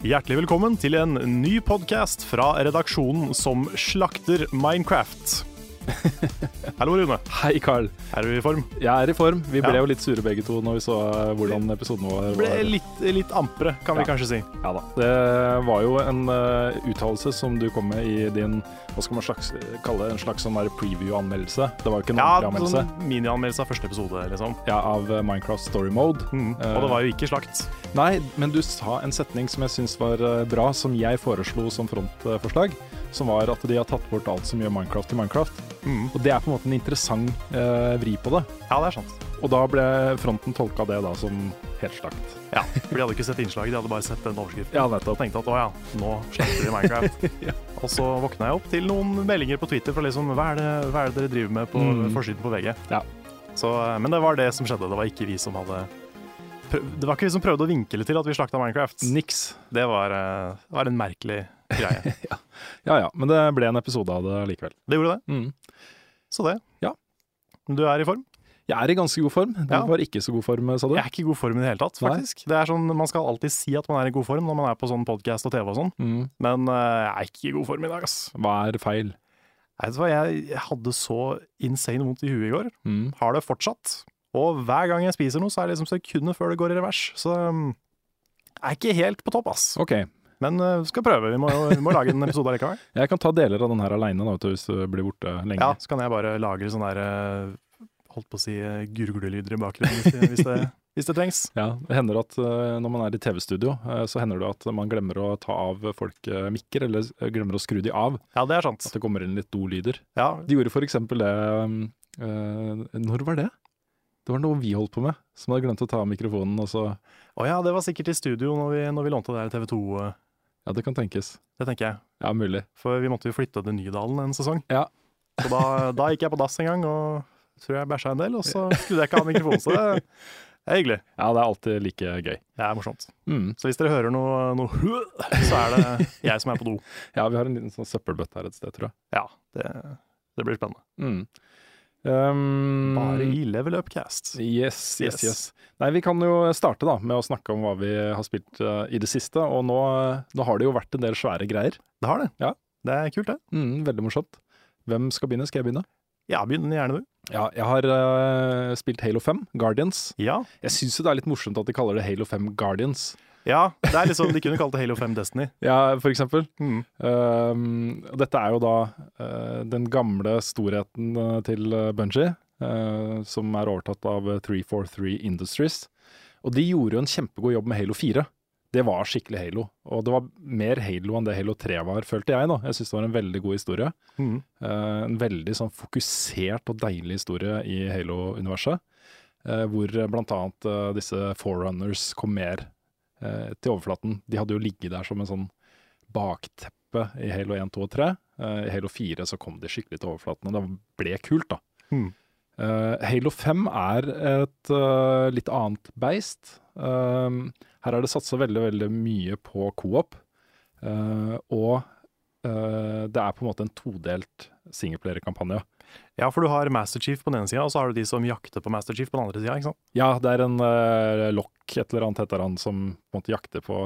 Hjertelig velkommen til en ny podkast fra redaksjonen som slakter Minecraft. Hallo, Rune. Hei, Carl. Er du i form? Jeg er i form. Vi ble Ja. jo litt sure begge to når vi så eh, hvordan episoden vår Ble var. litt, litt ampere, kan vi Ja. kanskje si. Ja da. Det var jo en eh, uttalelse som du kom med i din Hva skal man slags, kalle det? En slags sånn der preview-anmeldelse? Det var jo ikke en Ja, ordentlig anmeldelse. sånn Minianmeldelse av første episode, liksom. Ja, Av eh, Minecraft Story Mode. Eh, Mm. Og det var jo ikke slakt. Nei, men du sa en setning som jeg syns var eh, bra, som jeg foreslo som frontforslag. Som var at de har tatt bort alt som gjør Minecraft til Minecraft. Mm. Og det er på en måte en interessant eh, vri på det. Ja, det er sant. Og da ble fronten tolka det da som helt slakt. Ja, For de hadde ikke sett innslaget, de hadde bare sett den overskriften. Ja, nettopp. Og tenkte at å ja, nå slakter de Minecraft. Og så våkna jeg opp til noen meldinger på Twitter fra liksom hva er det, hva er det dere driver med på Mm. forsiden på VG? Ja. Så, eh, men det var det som skjedde. Det var ikke vi som hadde prøv- Det var ikke vi som prøvde å vinkle til at vi slakta Minecraft. Niks. Det var, eh, det var en merkelig greie. Ja ja, men det ble en episode av det likevel. Det gjorde det. Mm. Så det. Ja. Men Du er i form? Jeg er i ganske god form. Du Ja. var ikke så god form, sa du? Jeg er ikke i god form i det hele tatt, Nei. faktisk. Det er sånn, Man skal alltid si at man er i god form når man er på sånn podkast og TV og sånn, Mm. men eh, jeg er ikke i god form i dag, ass. Hva er feil? Nei, Vet du hva, jeg, jeg hadde så insane vondt i huet i går. Mm. Har det fortsatt. Og hver gang jeg spiser noe, så er det liksom sekundet før det går i revers. Så um, jeg er ikke helt på topp, ass. OK. Men uh, skal prøve. Vi må, vi må lage en episode allikevel. Jeg kan ta deler av den her aleine hvis du blir borte lenge. Ja, så kan jeg bare lagre sånne der uh, Holdt på å si uh, gurglelyder i bakgrunnen hvis, det- hvis, det- hvis det trengs. Ja, det hender at eh, Når man er i TV-studio, eh, så hender det at man glemmer å ta av folk eh, mikker, eller eh, glemmer å skru de av. Ja, det er sant. At det kommer inn litt do-lyder. Ja, De gjorde for eksempel det um, eh, Når var det? Det var noe vi holdt på med, som hadde glemt å ta av mikrofonen. Og så, Å ja, det var sikkert i studio når vi, når vi lånte det her TV 2. uh, ja, det kan tenkes. Det tenker jeg. Ja, mulig. For vi måtte jo flytte til Nydalen en sesong. Ja. Så da, da gikk jeg på dass en gang og tror jeg bæsja en del, og så skrudde jeg ikke av mikrofonen. Så det det er hyggelig. Ja, det er alltid like gøy. Det er morsomt. Mm. Så hvis dere hører noe, noe hø, så er det jeg som er på do. Ja, vi har en liten sånn søppelbøtte her et sted, tror jeg. Ja, det, det blir spennende. Mm. Um, Bare i Level Upcast. Yes, yes, Yes. yes. Nei, vi kan jo starte da med å snakke om hva vi har spilt eh, i det siste. Og nå, eh, nå har det jo vært en del svære greier. Det har det. Ja. Det er kult, det. Mm, veldig morsomt. Hvem skal begynne? Skal jeg begynne? Ja, begynn gjerne du. Ja, jeg har eh, spilt Halo 5, Guardians. Ja. Jeg syns jo det er litt morsomt at de kaller det Halo 5 Guardians. ja, det er liksom, de kunne kalt det Halo 5 Destiny. Ja, for eksempel. Mm. Um, og dette er jo da eh, den gamle storheten eh, til Bungee, som er overtatt av eh, 343 Industries. Og de gjorde jo en kjempegod jobb med Halo 4. Det var skikkelig Halo. Og det var mer Halo enn det Halo 3 var, følte jeg. da. Jeg syns det var en veldig god historie. Mm. Eh, en veldig sånn fokusert og deilig historie i Halo-universet. eh, hvor eh, blant annet eh, disse forerunners kom mer eh, til overflaten. De hadde jo ligget der som en sånn bakteppe i Halo 1, 2 og 3. Eh, I Halo 4 så kom de skikkelig til overflaten, og det ble kult, da. Mm. Eh, Halo 5 er et eh, litt annet beist. Um, her er det satsa veldig, veldig mye på co-op. eh, og eh, det er på en måte en todelt singleplayerkampanje. Ja, for du har Master Chief på den ene sida, og så har du de som jakter på Master Chief på den andre sida, ikke sant? Ja, det er en uh, Lock et eller annet heter han, som på en måte jakter på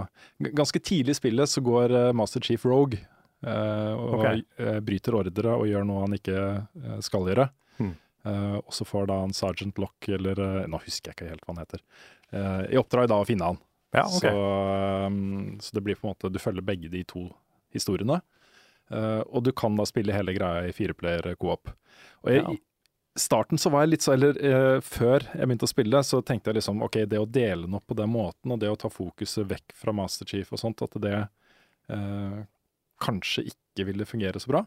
G Ganske tidlig i spillet så går eh, Master Chief Rogue eh, og Ok. eh, bryter ordre og gjør noe han ikke eh, skal gjøre. Hmm. Eh, og så får da en Sergeant Lock, eller eh, Nå husker jeg ikke helt hva han heter, eh, i oppdrag da å finne han. Ja, ok. så, eh, så det blir på en måte Du følger begge de to historiene. Eh, og du kan da spille hele greia i fireplayer co-op. Og jeg, Ja. i starten så var jeg litt så Eller eh, før jeg begynte å spille, så tenkte jeg liksom OK, det å dele den opp på den måten, og det å ta fokuset vekk fra Master Chief og sånt, at det eh, kanskje ikke ville fungere så bra.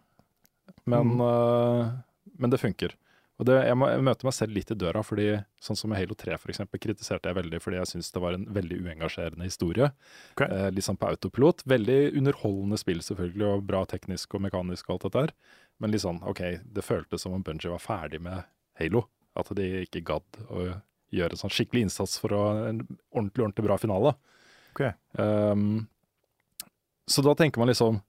Men, Mm. eh, men det funker. Og det, jeg, må, jeg møter meg selv litt i døra, fordi sånn som med Halo 3 for eksempel, kritiserte jeg veldig fordi jeg syntes det var en veldig uengasjerende historie. Ok. Eh, litt sånn på autopilot. Veldig underholdende spill selvfølgelig, og bra teknisk og mekanisk og alt dette her. Men litt sånn, ok, det føltes som om Bungie var ferdig med Halo. At de ikke gadd å gjøre en sånn skikkelig innsats for å, en ordentlig, ordentlig bra finale. Ok. Ehm, så da tenker man liksom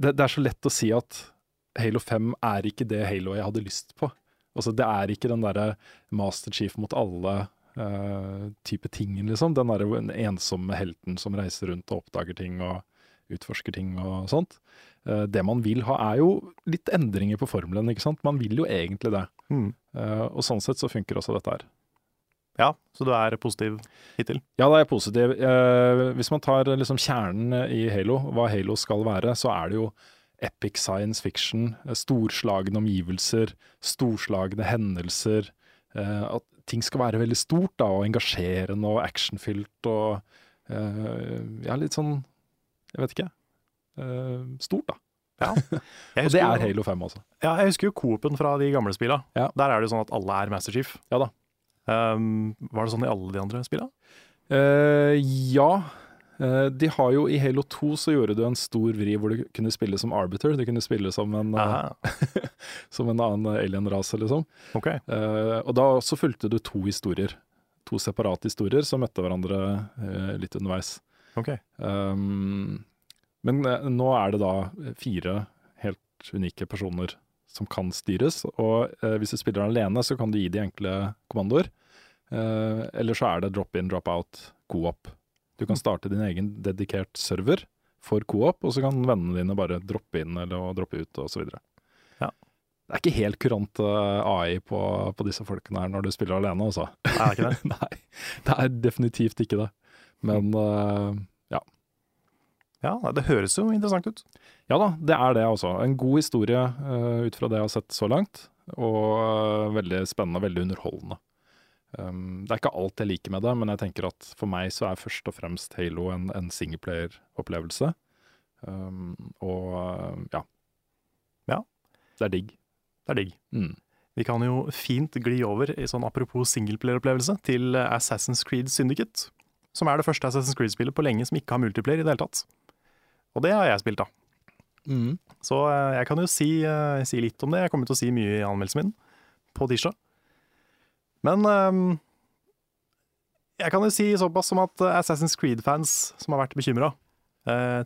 det, det er så lett å si at Halo 5 er ikke det Halo jeg hadde lyst på. Altså, det er ikke den derre Master Chief mot alle eh, type tingen, liksom. Den derre ensomme helten som reiser rundt og oppdager ting og utforsker ting og sånt. Eh, det man vil ha er jo litt endringer på formelen, ikke sant. Man vil jo egentlig det. Mm. Eh, og sånn sett så funker også dette her. Ja, så du er positiv hittil? Ja, da er jeg positiv. Eh, hvis man tar eh, liksom kjernen i Halo, hva Halo skal være, så er det jo epic science fiction, eh, storslagne omgivelser, storslagne hendelser. eh, at ting skal være veldig stort da, og engasjerende og actionfylt og eh, ja, litt sånn Jeg vet ikke. eh, stort, da. Jeg Og det husker er jo- Halo 5, altså. Ja, jeg husker jo Coop-en fra de gamle spilla. Ja. Der er det jo sånn at alle er Master Chief. Ja da. Um, var det sånn i alle de andre spilla? Eh, ja. Eh, de har jo I Halo 2 så gjorde du en stor vri hvor du kunne spille som Arbiter. Du kunne spille som en eh, Aha, som en annen alienrase, liksom. Ok. Eh, og da også fulgte du to historier. To separate historier som møtte hverandre eh, litt underveis. ok. Um, men eh, nå er det da fire helt unike personer som kan styres. Og eh, hvis du spiller alene, så kan du gi de enkle kommandoer. Eh, eller så er det drop in, drop out, co-op. Du kan starte din egen dedikert server for co-op, og så kan vennene dine bare droppe inn eller å droppe ut osv. Ja. Det er ikke helt kurant eh, AI på, på disse folkene her når du spiller alene, altså. Er det ikke det? Nei, det er definitivt ikke det. Men eh, Ja, nei, det høres jo interessant ut. Ja da, det er det altså. En god historie eh, ut fra det jeg har sett så langt, og eh, veldig spennende og veldig underholdende. Um, det er ikke alt jeg liker med det, men jeg tenker at for meg så er først og fremst Halo en, en singleplayer-opplevelse. Um, og eh, ja. Ja. Det er digg. Det er digg. Mm. Vi kan jo fint gli over i sånn apropos singleplayer-opplevelse til eh, Assassin's Creed Syndicate, som er det første Assassin's Creed-spillet på lenge som ikke har multiplayer i det hele tatt. Og det har jeg spilt, da. Mm. Så eh, jeg kan jo si, eh, si litt om det. Jeg kommer til å si mye i anmeldelsen min på tirsdag. Men eh, jeg kan jo si såpass som at eh, Assassin's Creed-fans som har vært bekymra,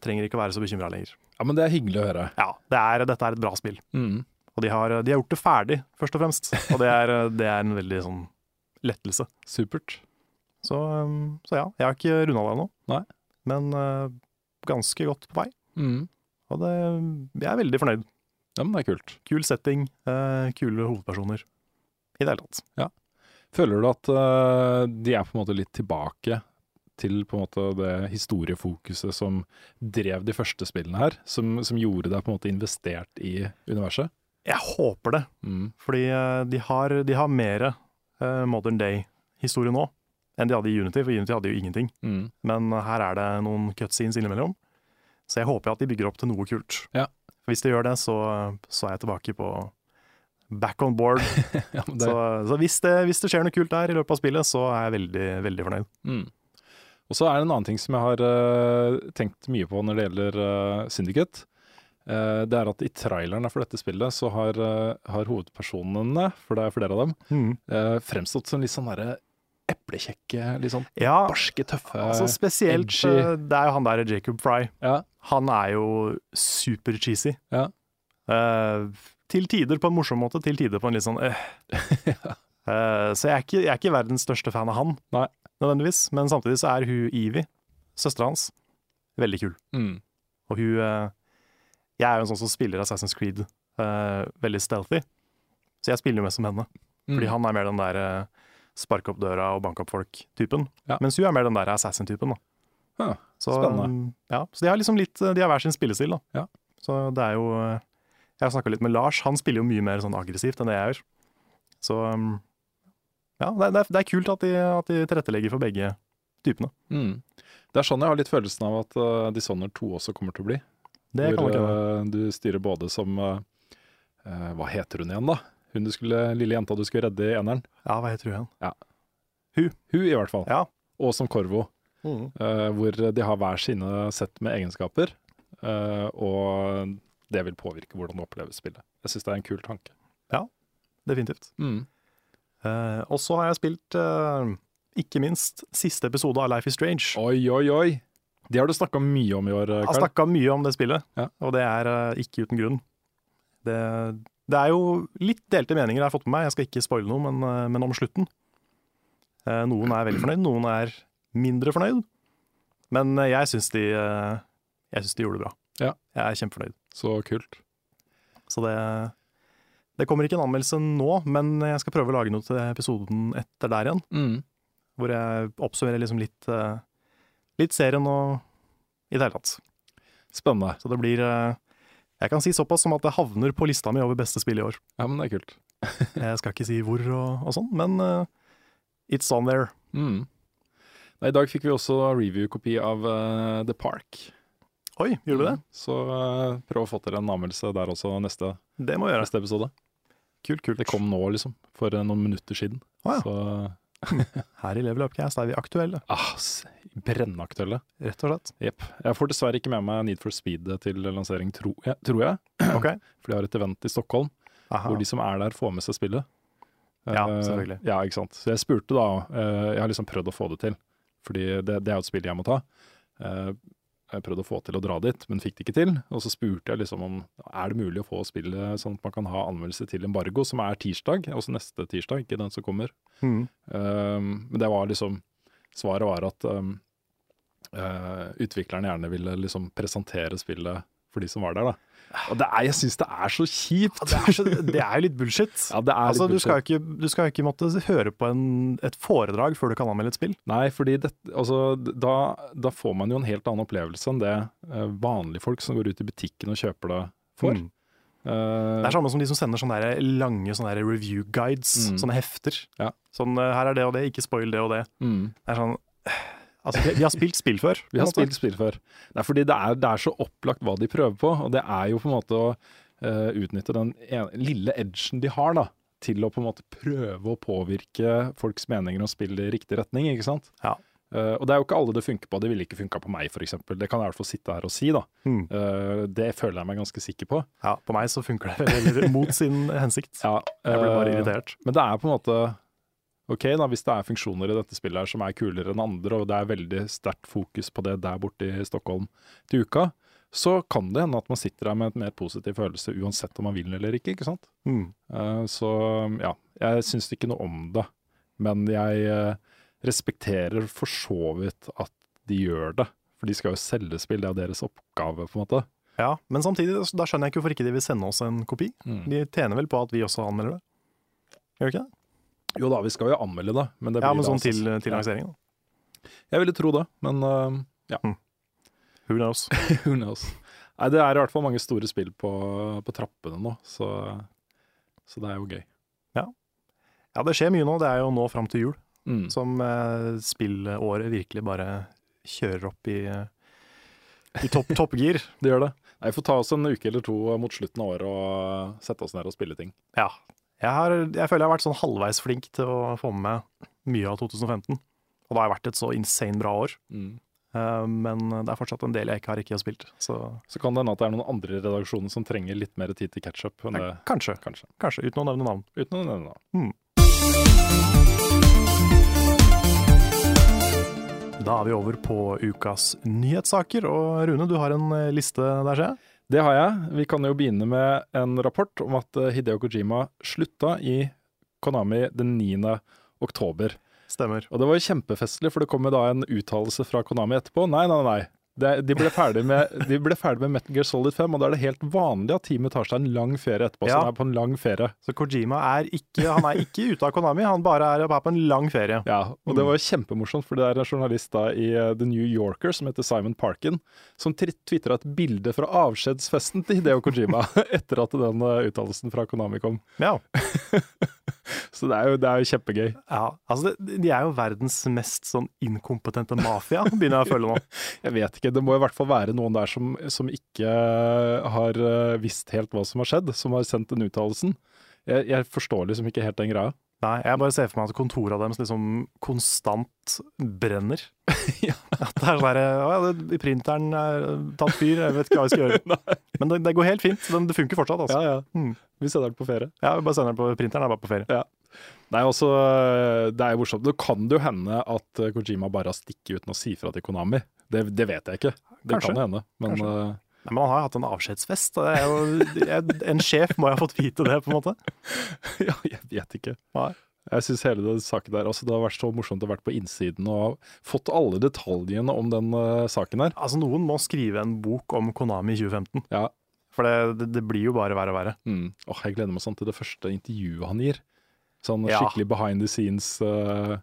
trenger ikke å være så bekymra lenger. Ja, men det er hyggelig å høre. Ja, det er, dette er et bra spill. Mm. Og de har, de har gjort det ferdig, først og fremst. Og det er, det er en veldig sånn lettelse. Supert. Så, um, så ja, jeg har ikke runda det ennå. Nei. Men uh, ganske godt på vei. Mm. Og det, jeg er veldig fornøyd. Ja, men det er kult. Kul setting, uh, kule hovedpersoner. I det hele tatt. Føler du at eh, de er på en måte litt tilbake til på en måte det historiefokuset som drev de første spillene her, som, som gjorde deg på en måte investert i universet? Jeg håper det, Mm. fordi uh, de har, de har mer uh, modern day-historie nå enn de hadde i Unity, for Unity hadde jo ingenting. Mm. Men her er det noen cutscenes innimellom. Så jeg håper at de bygger opp til noe kult. Ja. For Hvis de gjør det, så, så er jeg tilbake på back on board. Ja, men det, så så hvis, det, hvis det skjer noe kult der i løpet av spillet, så er jeg veldig, veldig fornøyd. Mm. Og så er det en annen ting som jeg har eh, tenkt mye på når det gjelder eh, Syndicate. Eh, det er at i trailerne for dette spillet så har, eh, har hovedpersonene, for det er flere av dem, eh, fremstått som litt sånn derre eplekjekke, litt sånn Ja, barske, tøffe altså spesielt edgy. eh, Det er jo han der Jacob Fry. Ja. Han er jo super-cheesy. Ja. Eh, til tider på en morsom måte, til tider på en litt sånn eh. Eh, Så jeg er, ikke, jeg er ikke verdens største fan av han, Nei. nødvendigvis. Men samtidig så er hun Evie, søstera hans, veldig kul. Mm. Og hun eh, Jeg er jo en sånn som spiller Assassin's Creed eh, veldig stealthy. Så jeg spiller jo mest som henne. mm. Fordi han er mer den der eh, sparke opp døra og banke opp folk-typen. Ja. Mens hun er mer den der assassin-typen. da. Ja, så, spennende. um, Ja, så de har liksom litt, de har hver sin spillestil. da. Ja. Så det er jo eh, Jeg har snakka litt med Lars, han spiller jo mye mer sånn aggressivt enn det jeg gjør. Så um, ja, det, det, er, det er kult at de, at de tilrettelegger for begge typene. Mm. Det er sånn jeg har litt følelsen av at uh, Dishonored 2 også kommer til å bli. Det kan hvor nok hende. eh, du styrer både som eh, eh, Hva heter hun igjen, da? Hun du skulle, lille jenta du skulle redde i eneren. Ja, hva heter hun igjen? Hun, i hvert fall. Ja. Og som Korvo. eh, hvor de har hver sine sett med egenskaper. eh, og det vil påvirke hvordan du opplever spillet. Jeg syns det er en kul tanke. Definitivt. Eh, og så har jeg spilt, eh, ikke minst, siste episode av Life is Strange. Oi, oi, oi! Det har du snakka mye om i år, eh, Jeg har Karl. snakka mye om det spillet, Ja. og det er eh, ikke uten grunn. Det, det er jo litt delte meninger jeg har fått med meg, jeg skal ikke spoile noe, men, eh, men om slutten. Eh, Noen er veldig fornøyd, noen er mindre fornøyd. Men eh, jeg syns de, eh, jeg synes de gjorde det bra. Ja. Jeg er kjempefornøyd. Så kult. Så det, det kommer ikke en anmeldelse nå, men jeg skal prøve å lage noe til episoden etter der igjen. Hvor jeg oppsummerer liksom litt, eh, litt serien og i det hele tatt. Spennende. Så det blir eh, Jeg kan si såpass som at det havner på lista mi over beste spill i år. Ja, men det er kult. Jeg skal ikke si hvor og, og sånn, men eh, it's on there. Mm. Nei, I dag fikk vi også review-kopi av eh, The Park. Oi, gjorde du det? Så eh, prøv å få til en anmeldelse der også neste, Det må jeg gjøre. neste episode. Kult, kult. Det kom nå, liksom. For eh, noen minutter siden. Å ja. Så Her i Level Upcast er vi aktuelle, ah, s- brennaktuelle. rett og slett. Jepp. Jeg får dessverre ikke med meg Need for Speed til lansering, tro, ja, tror jeg. Ok. For de har et event i Stockholm Aha. hvor de som er der, får med seg spillet. Ah. Ja, Eh, selvfølgelig. ja, ikke sant. Så jeg spurte da eh, Jeg har liksom prøvd å få det til, fordi det, det er jo et spill jeg må ta. Eh, jeg prøvde å få til å dra dit, men fikk det ikke til. Og så spurte jeg liksom om er det mulig å få spillet sånn at man kan ha anmeldelse til embargo, som er tirsdag, altså neste tirsdag, ikke den som kommer. Mm. Um, Men det var liksom Svaret var at um, eh, utvikleren gjerne ville liksom presentere spillet for de som var der, da. Og det er, jeg syns det er så kjipt! Det er så- det er jo litt bullshit. Ja, det er altså, litt du skal, jo ikke, du skal jo ikke måtte høre på en, et foredrag før du kan anmelde et spill. Nei, fordi det, altså, d- da, da får man jo en helt annen opplevelse enn det eh, vanlige folk som går ut i butikken og kjøper Eh, det, får. Mm. Det er samme som de som sender sånne der lange sånne der review guides, Mm. sånne hefter. Ja. Sånn, eh, her er det og det, ikke spoil det og det. mm. Det er sånn Altså, de, de har spilt spill før. Vi har på en måte. spilt spill før. Det er fordi det er, det er så opplagt hva de prøver på, og det er jo på en måte å eh, utnytte den en, lille edgen de har, da, til å på en måte prøve å påvirke folks meninger og spill i riktig retning, ikke sant? Ja. Eh, og det er jo ikke alle det funker på. Det ville ikke funka på meg, f.eks. Det kan jeg i hvert fall sitte her og si, da. Mm. Eh, det føler jeg meg ganske sikker på. Ja, på meg så funker det veldig mot sin hensikt. Ja, Jeg blir bare eh, irritert. Men det er på en måte Ok, da, hvis det er funksjoner i dette spillet her som er kulere enn andre, og det er veldig sterkt fokus på det der borte i Stockholm til uka, så kan det hende at man sitter der med en mer positiv følelse uansett om man vil eller ikke. ikke sant? Mm. Eh, så ja, jeg syns ikke noe om det. Men jeg eh, respekterer for så vidt at de gjør det. For de skal jo selge spill, det er jo deres oppgave, på en måte. Ja, Men samtidig, da skjønner jeg ikke hvorfor ikke de vil sende oss en kopi. De tjener vel på at vi også anmelder det? Gjør de ikke det? Jo da, vi skal jo anmelde det. Men det blir Ja, men da sånn altså- til, til Ja. lanseringen. da. Jeg ville tro det, men eh, Who knows? Who knows? Nei, det er i hvert fall mange store spill på, på trappene nå, så, så det er jo gøy. Ja, det skjer mye nå. Det er jo nå fram til jul Mm. som eh, spillåret virkelig bare kjører opp i, eh, i topp, toppgir. Det gjør det. Nei, Vi får ta oss en uke eller to mot slutten av året og sette oss ned og spille ting. Ja. Jeg, har, jeg føler jeg har vært sånn halvveis flink til å få med meg mye av 2015. Og det har vært et så insane bra år. Mm. Eh, Men det er fortsatt en del jeg ikke har ikke spilt. Så Så kan det hende at det er noen andre i redaksjonen som trenger litt mer tid til ketsjup enn det, Nei, kanskje, kanskje. kanskje, uten å nevne navn. Uten å nevne det. Da er vi over på ukas nyhetssaker, og Rune, du har en eh, liste der, ser jeg. Det har jeg. Vi kan jo begynne med en rapport om at eh, Hideo Kojima slutta i Konami den 9. oktober. Stemmer. Og det var jo kjempefestlig, for det kom jo da en uttalelse fra Konami etterpå. Nei, nei, nei. Det, de, ble ferdig med, de ble ferdig med Metal Gear Solid 5, og da er det helt vanlig at teamet tar seg en lang ferie etterpå. Så Ja. han er på en lang ferie. Så Kojima er ikke, han er ikke ute av Konami, han bare er bare på en lang ferie. Ja, og det var jo kjempemorsomt, for det er en journalist da i eh, The New Yorker som heter Simon Parkin, som tvitra et bilde fra avskjedsfesten til Hideo Kojima etter at den eh, uttalelsen fra Konami kom. Ja. Så det er jo, det er jo kjempegøy. ja. Altså, det, de er jo verdens mest sånn inkompetente mafia, begynner jeg å føle nå. Jeg vet ikke, det må i hvert fall være noen der som, som ikke har eh, visst helt hva som har skjedd, som har sendt den uttalelsen. Jeg, jeg forstår liksom ikke helt den greia. Nei, jeg bare ser for meg at kontoret deres liksom konstant brenner. Ja. At det er sånn derre Å ja, det- printeren er tatt fyr, jeg vet ikke hva jeg skal gjøre. Men det, det går helt fint. Den, det funker fortsatt, altså. Ja, ja. Mm. Vi sender den på ferie. Ja, vi bare sender den på printeren, er bare på ferie. Nei, også, eh, det er jo morsomt. Det kan det jo hende at eh, Kojima bare har stikket uten å si fra til Konami. Det, det vet jeg ikke. Det Kanskje. kan jo hende. Men eh, Nei, men han har jo hatt en avskjedsfest. og Det er jo, jeg, en sjef må jo ha fått vite det, på en måte. ja, jeg vet ikke. Nei. Jeg syns hele den saken der altså, Det har vært så morsomt å ha vært på innsiden og fått alle detaljene om den eh, saken her. Altså, noen må skrive en bok om Konami i 2015. Ja. For det, det, det blir jo bare verre og verre. Mm. Åh, jeg gleder meg sånn til det første intervjuet han gir. Sånn Ja. skikkelig behind the scenes eh,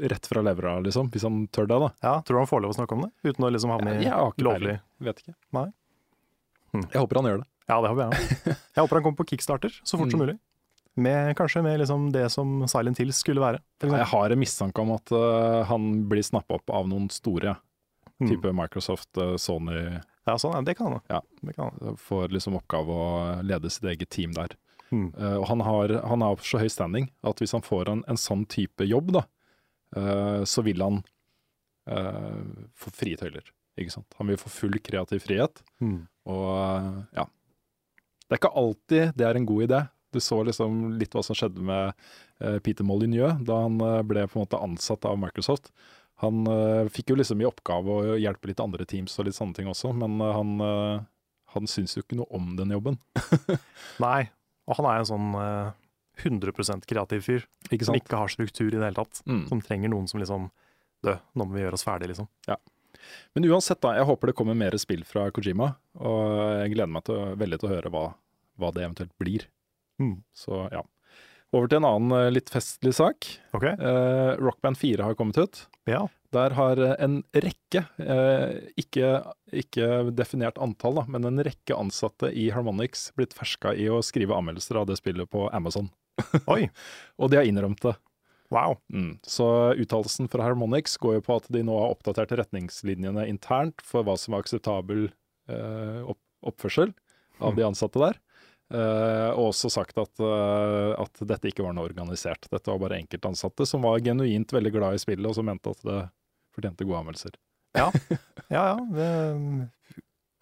rett fra levra, liksom. Hvis han tør det, da. Ja, tror du han får lov å snakke om det? Uten å liksom havne i Jeg har ikke lovlig peiling. Vet ikke. Nei. Mm. Jeg håper han gjør det. Ja, det håper jeg også. Jeg håper han kommer på kickstarter så fort som Mm. mulig. Med, kanskje med liksom det som Silent Hill skulle være. for Jeg eksempel. har en mistanke om at eh, han blir snappa opp av noen store. Mm. Type Microsoft, eh, Sony Ja, sånn, ja, det kan han. da. Ja. Det kan han. eh, får liksom oppgave å lede sitt eget team der. Mm. Eh, og han har, han har så høy standing at hvis han får en, en sånn type jobb, da, eh, så vil han eh, få frie tøyler. Ikke sant? Han vil få full kreativ frihet. Mm. Og eh, ja. Det er ikke alltid det er en god idé. Du så liksom litt hva som skjedde med eh, Peter Molyneux da han eh, ble på en måte ansatt av Microsoft. Han eh, fikk jo liksom i oppgave å hjelpe litt andre teams og litt sånne ting også, men eh, han, eh, han syns jo ikke noe om den jobben. Nei, og han er en sånn eh, 100 kreativ fyr Ikke som sant? ikke har struktur i det hele tatt. Mm. Som trenger noen som liksom Dø, nå må vi gjøre oss ferdig, liksom. Men uansett, da, jeg håper det kommer mer spill fra Kojima, og jeg gleder meg til, veldig til å høre hva, hva det eventuelt blir. Mm. Så ja. Over til en annen eh, litt festlig sak. OK? Eh, Rockband 4 har kommet ut. Ja. Der har eh, en rekke, eh, ikke, ikke definert antall, da, men en rekke ansatte i Harmonix blitt ferska i å skrive anmeldelser av det spillet på Amazon. Oi. Og de har innrømt det. Wow. Mm. Så uttalelsen fra Harmonix går jo på at de nå har oppdatert retningslinjene internt for hva som er akseptabel eh, opp oppførsel av de ansatte der. Eh, og også sagt at, eh, at dette ikke var noe organisert. Dette var bare enkeltansatte som var genuint veldig glad i spillet, og som mente at det fortjente gode anmeldelser. Ja ja, det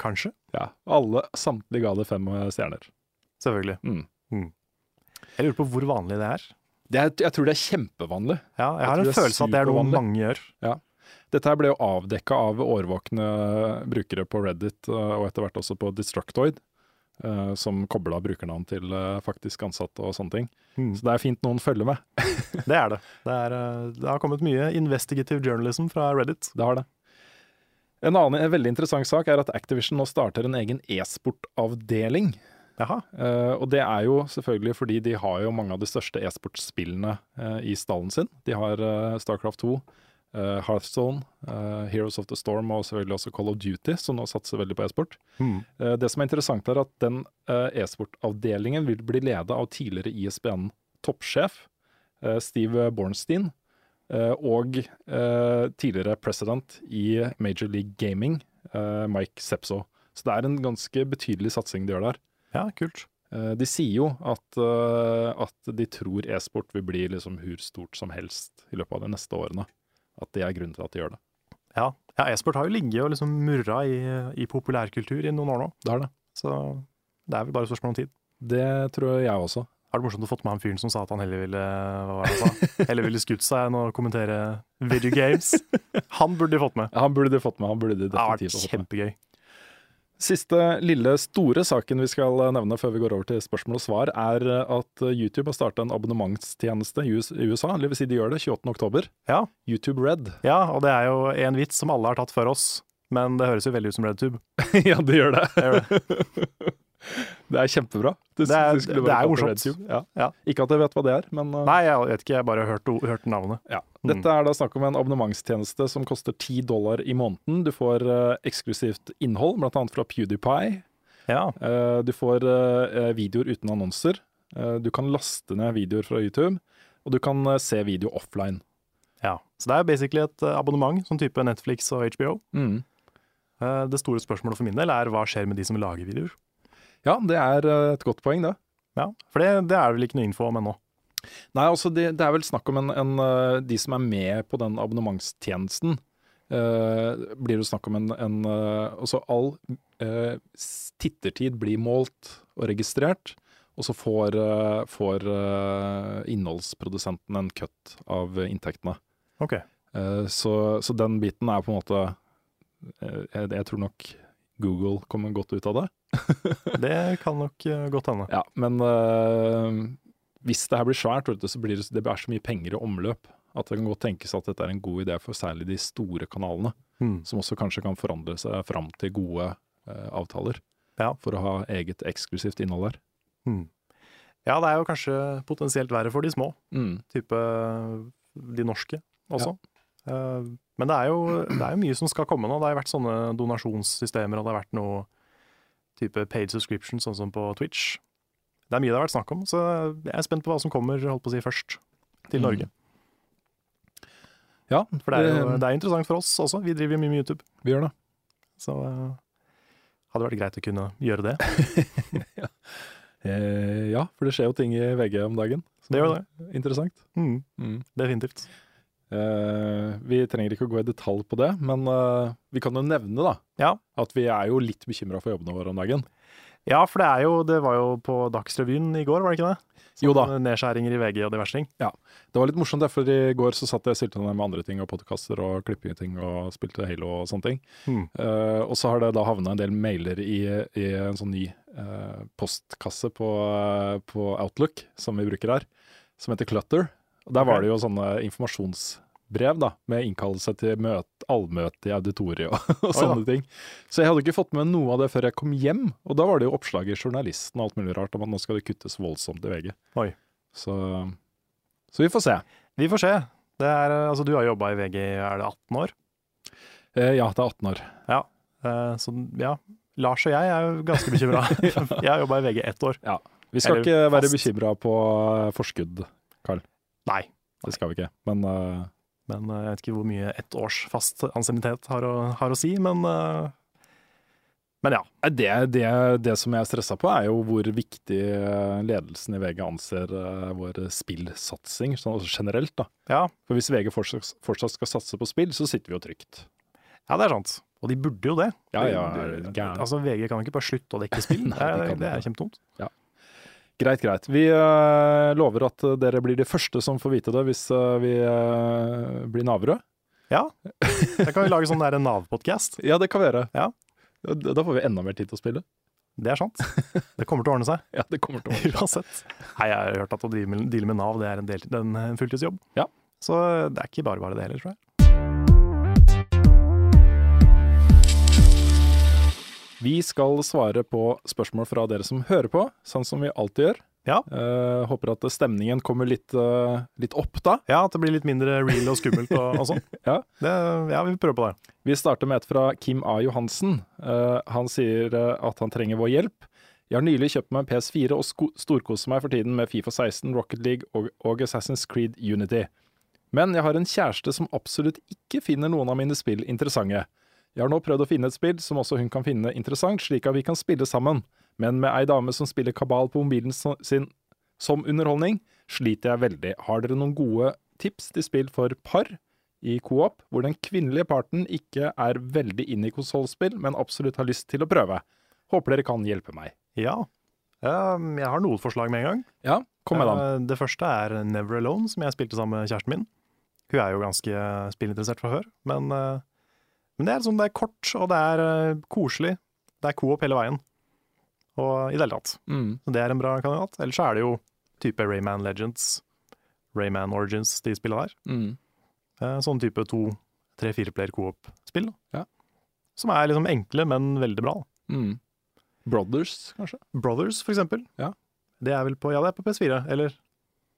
Kanskje. Ja, Alle samtlige ga det fem eh, stjerner. Selvfølgelig. Mm. Mm. Jeg lurer på hvor vanlig det er. Det er, jeg tror det er kjempevanlig. Ja, jeg Jeg har tror en det er følelse av at det er noe supervanlig. mange gjør. Dette her ble jo avdekka av årvåkne brukere på Reddit, eh, og etter hvert også på Destructoid, eh, som kobla brukernavn til eh, faktisk ansatte og sånne ting. Mm. Så det er fint noen følger med. Det er det. Det, er, eh, det har kommet mye investigative journalism fra Reddit. Det har det. En annen en veldig interessant sak er at Activision nå starter en egen e-sportavdeling. Jaha. Eh, og det er jo selvfølgelig fordi de har jo mange av de største e-sportspillene eh, i stallen sin. De har eh, Starcraft 2, eh, Hearthstone, eh, Heroes of the Storm og selvfølgelig også Call of Duty, som nå satser veldig på e-sport. Eh, Det som er interessant er at den eh, e-sportavdelingen vil bli ledet av tidligere E ISBN-toppsjef eh, Steve Bornstein eh, og eh, tidligere president i Major League Gaming eh, Mike Sepso. Så det er en ganske betydelig satsing de gjør der. Ja, kult. Eh, De sier jo at, eh, at de tror e-sport vil bli liksom hvor stort som helst i løpet av de neste årene. At det er grunnen til at de gjør det. Ja, ja e-sport har jo ligget og liksom murra i, i populærkultur i noen år nå, Det er det. så det er vel bare et spørsmål om tid. Det tror jeg også. Har det morsomt å fått med han fyren som sa at han heller ville hva var det han sa? Heller ville skutt seg enn å kommentere video games? Han burde de fått med. Han burde de fått med. Han burde de Det har vært definitivt ha fått med. kjempegøy. Siste lille store saken vi skal nevne før vi går over til spørsmål og svar, er at YouTube har starta en abonnementstjeneste i US- i USA. Eller vil si de gjør det 28.10. Ja. YouTube Red. Ja, og det er jo en vits som alle har tatt før oss, men det høres jo veldig ut som RedTube. ja, det gjør det. Det gjør Det er kjempebra. Du- Det er- du skulle det bare er kalt morsomt. RedTube. Ja. Ja. Ikke at jeg vet hva det er, men uh, Nei, jeg vet ikke, jeg bare har hørt, o- hørt navnet. ja. Mm. Dette er da snakk om en abonnementstjeneste som koster 10 dollar i måneden. Du får uh, eksklusivt innhold, bl.a. fra PewDiePie. Ja, Eh, Du får eh, videoer uten annonser. Eh, Du kan laste ned videoer fra YouTube, og du kan eh, se video offline. ja. Så det er basically et eh, abonnement, sånn type Netflix og HBO. Mm. Eh, Det store spørsmålet for min del er hva skjer med de som lager videoer? Ja, det er eh, et godt poeng, det. Ja, For det, det er det vel ikke noe info om ennå. Nei, altså det, det er vel snakk om en, en eh, De som er med på den abonnementstjenesten, eh, blir det snakk om en, en eh, Altså all eh, s- tittertid blir målt og registrert, og så får, eh, får eh, innholdsprodusenten en cut av inntektene. Ok. Eh, Så, så den biten er på en måte eh, jeg, jeg tror nok Google kommer godt ut av det. Det kan nok eh, godt hende. Ja, men eh, hvis det her blir svært, vet du, så blir det, det er så mye penger i omløp at det kan godt tenkes at dette er en god idé for særlig de store kanalene, Mm. som også kanskje kan forandre seg fram til gode eh, avtaler Ja. for å ha eget eksklusivt innhold der. Mm. Ja, det er jo kanskje potensielt verre for de små, type de norske også. Eh, Men det er, jo, det er jo mye som skal komme nå. Det har jo vært sånne donasjonssystemer, og det har vært noe type paid subscription, sånn som på Twitch. Det er mye det har vært snakk om, så jeg er spent på hva som kommer holdt på å si, først til Mm. Norge. Ja, For det er jo det er interessant for oss også. Vi driver jo mye med YouTube, vi gjør det. så eh, hadde vært greit å kunne gjøre det. Eh, ja, for det skjer jo ting i VG om dagen. som Det gjør er Interessant. Mm, definitivt. Eh, vi trenger ikke å gå i detalj på det, men eh, vi kan jo nevne da, Ja. at vi er jo litt bekymra for jobbene våre om dagen. Ja, for det er jo Det var jo på Dagsrevyen i går, var det ikke det? Jo da. Sånne Nedskjæringer i VG og diverse ting. Det var litt morsomt, der, for i går så satt jeg og stilte ned med andre ting og podkaster og klipping-ting og spilte Halo og sånne ting. Mm. Eh, og så har det da havna en del mailer i, i en sånn ny eh, postkasse på, eh, på Outlook, som vi bruker her, som heter Clutter. Og der var Ok. det jo sånne informasjonsbrev da, med innkallelse til møt, allmøte i auditoriet og, Oi og da. sånne ting. Så jeg hadde ikke fått med noe av det før jeg kom hjem, og da var det jo oppslag i Journalisten og alt mulig rart om at nå skal det kuttes voldsomt i VG. Oi. Så, så vi får se. Vi får se. Det er, altså, du har jobba i VG i er det 18 år, Eh, ja, det er 18 år. Eh, så ja. Lars og jeg er jo ganske bekymra. Jeg har jobba i VG ett år. Vi skal Eller ikke være fast. bekymra på eh, forskudd, Nei, det skal vi ikke. Men eh, men eh, jeg vet ikke hvor mye ett års fast ansiennitet har, å- har å si, men eh, Men ja. det, det, det som jeg er stressa på, er jo hvor viktig eh, ledelsen i VG anser eh, vår spillsatsing sånn, altså generelt. da. ja. For hvis VG fortsatt, fortsatt skal satse på spill, så sitter vi jo trygt. Ja, det er sant. Og de burde jo det. Ja, ja, Det- er du det- gæren. altså, VG kan jo ikke bare slutte å dekke spill. Nei, det de er, kan det er ikke. kjempetungt. Greit, greit. Vi eh, lover at eh, dere blir de første som får vite det hvis eh, vi eh, blir navrøde. Ja. Da kan vi lage sånn der Nav-podkast. Ja, det kan vi gjøre. Ja. Da da får vi enda mer tid til å spille. Det er sant. Det kommer til å ordne seg. Ja, det kommer til å Uansett. Nei, jeg har hørt at å drive med- deale med Nav, det er en, del, det er en- en fulltidsjobb. Ja. Så eh, det er ikke bare bare det heller, tror jeg. Vi skal svare på spørsmål fra dere som hører på, sånn som vi alltid gjør. Ja. Eh, håper at stemningen kommer litt, eh, litt opp da. Ja, at det blir litt mindre real og skummelt og, og sånn. Ja. Det- ja, vi prøver på det. Vi starter med et fra Kim A. Johansen. Eh, han sier eh, at han trenger vår hjelp. Jeg har nylig kjøpt meg en PS4 og sko- storkoser meg for tiden med Fifa 16, Rocket League og, og Assassin's Creed Unity. Men jeg har en kjæreste som absolutt ikke finner noen av mine spill interessante. Jeg har nå prøvd å finne et spill som også hun kan finne interessant, slik at vi kan spille sammen. Men med ei dame som spiller kabal på mobilen so- sin som underholdning, sliter jeg veldig. Har dere noen gode tips til spill for par? i Coop, hvor den kvinnelige parten ikke er veldig inne i konsollspill, men absolutt har lyst til å prøve. Håper dere kan hjelpe meg. Ja. Um, jeg har noen forslag med en gang. Ja, kom med dem. Eh, Det første er Never Alone, som jeg spilte sammen med kjæresten min. Hun er jo ganske spillinteressert fra før, men, eh, men det er sånn, det er kort, og det er eh, koselig. Det er co-op hele veien. Og i det hele tatt. Mm. Så det er en bra kandidat. Ellers så er det jo type Rayman Legends, Rayman Origins, de spillene der. Mm. Eh, Sånn type to, tre, fire player co-op-spill. da. Ja. Som er liksom enkle, men veldig bra. da. Mm. Brothers, kanskje? Brothers, for eksempel. Ja. Det er vel på Ja, det er på PS4, eller?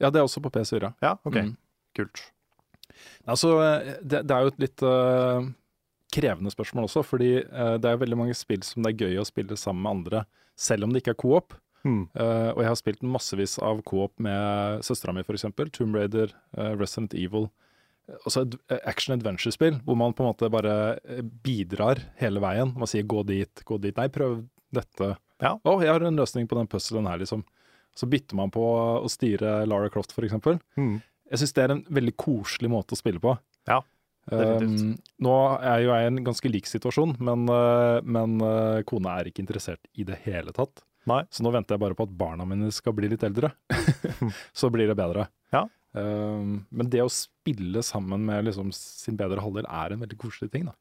Ja, det er også på PS4. Ja, OK. Mm. Kult. Altså, eh, det, det er jo et litt eh, krevende spørsmål også, fordi eh, det er veldig mange spill som det er gøy å spille sammen med andre, selv om det ikke er co-op. Hmm. Eh, og jeg har spilt massevis av co-op med søstera mi, f.eks. Tomb Raider, eh, Resident Evil. Altså et action adventure-spill hvor man på en måte bare eh, bidrar hele veien. Man sier 'gå dit', 'gå dit', 'nei, prøv dette'. Ja. 'Å, jeg har en løsning på den puzzlen her', liksom. Så bytter man på å styre Lara Croft, f.eks. Hmm. Jeg syns det er en veldig koselig måte å spille på. Ja, definitivt. Um, nå er jo jeg i en ganske lik situasjon, men, uh, men uh, kona er ikke interessert i det hele tatt. Nei. Så nå venter jeg bare på at barna mine skal bli litt eldre. så blir det bedre. Ja. Um, men det å spille sammen med liksom, sin bedre halvdel er en veldig koselig ting, da.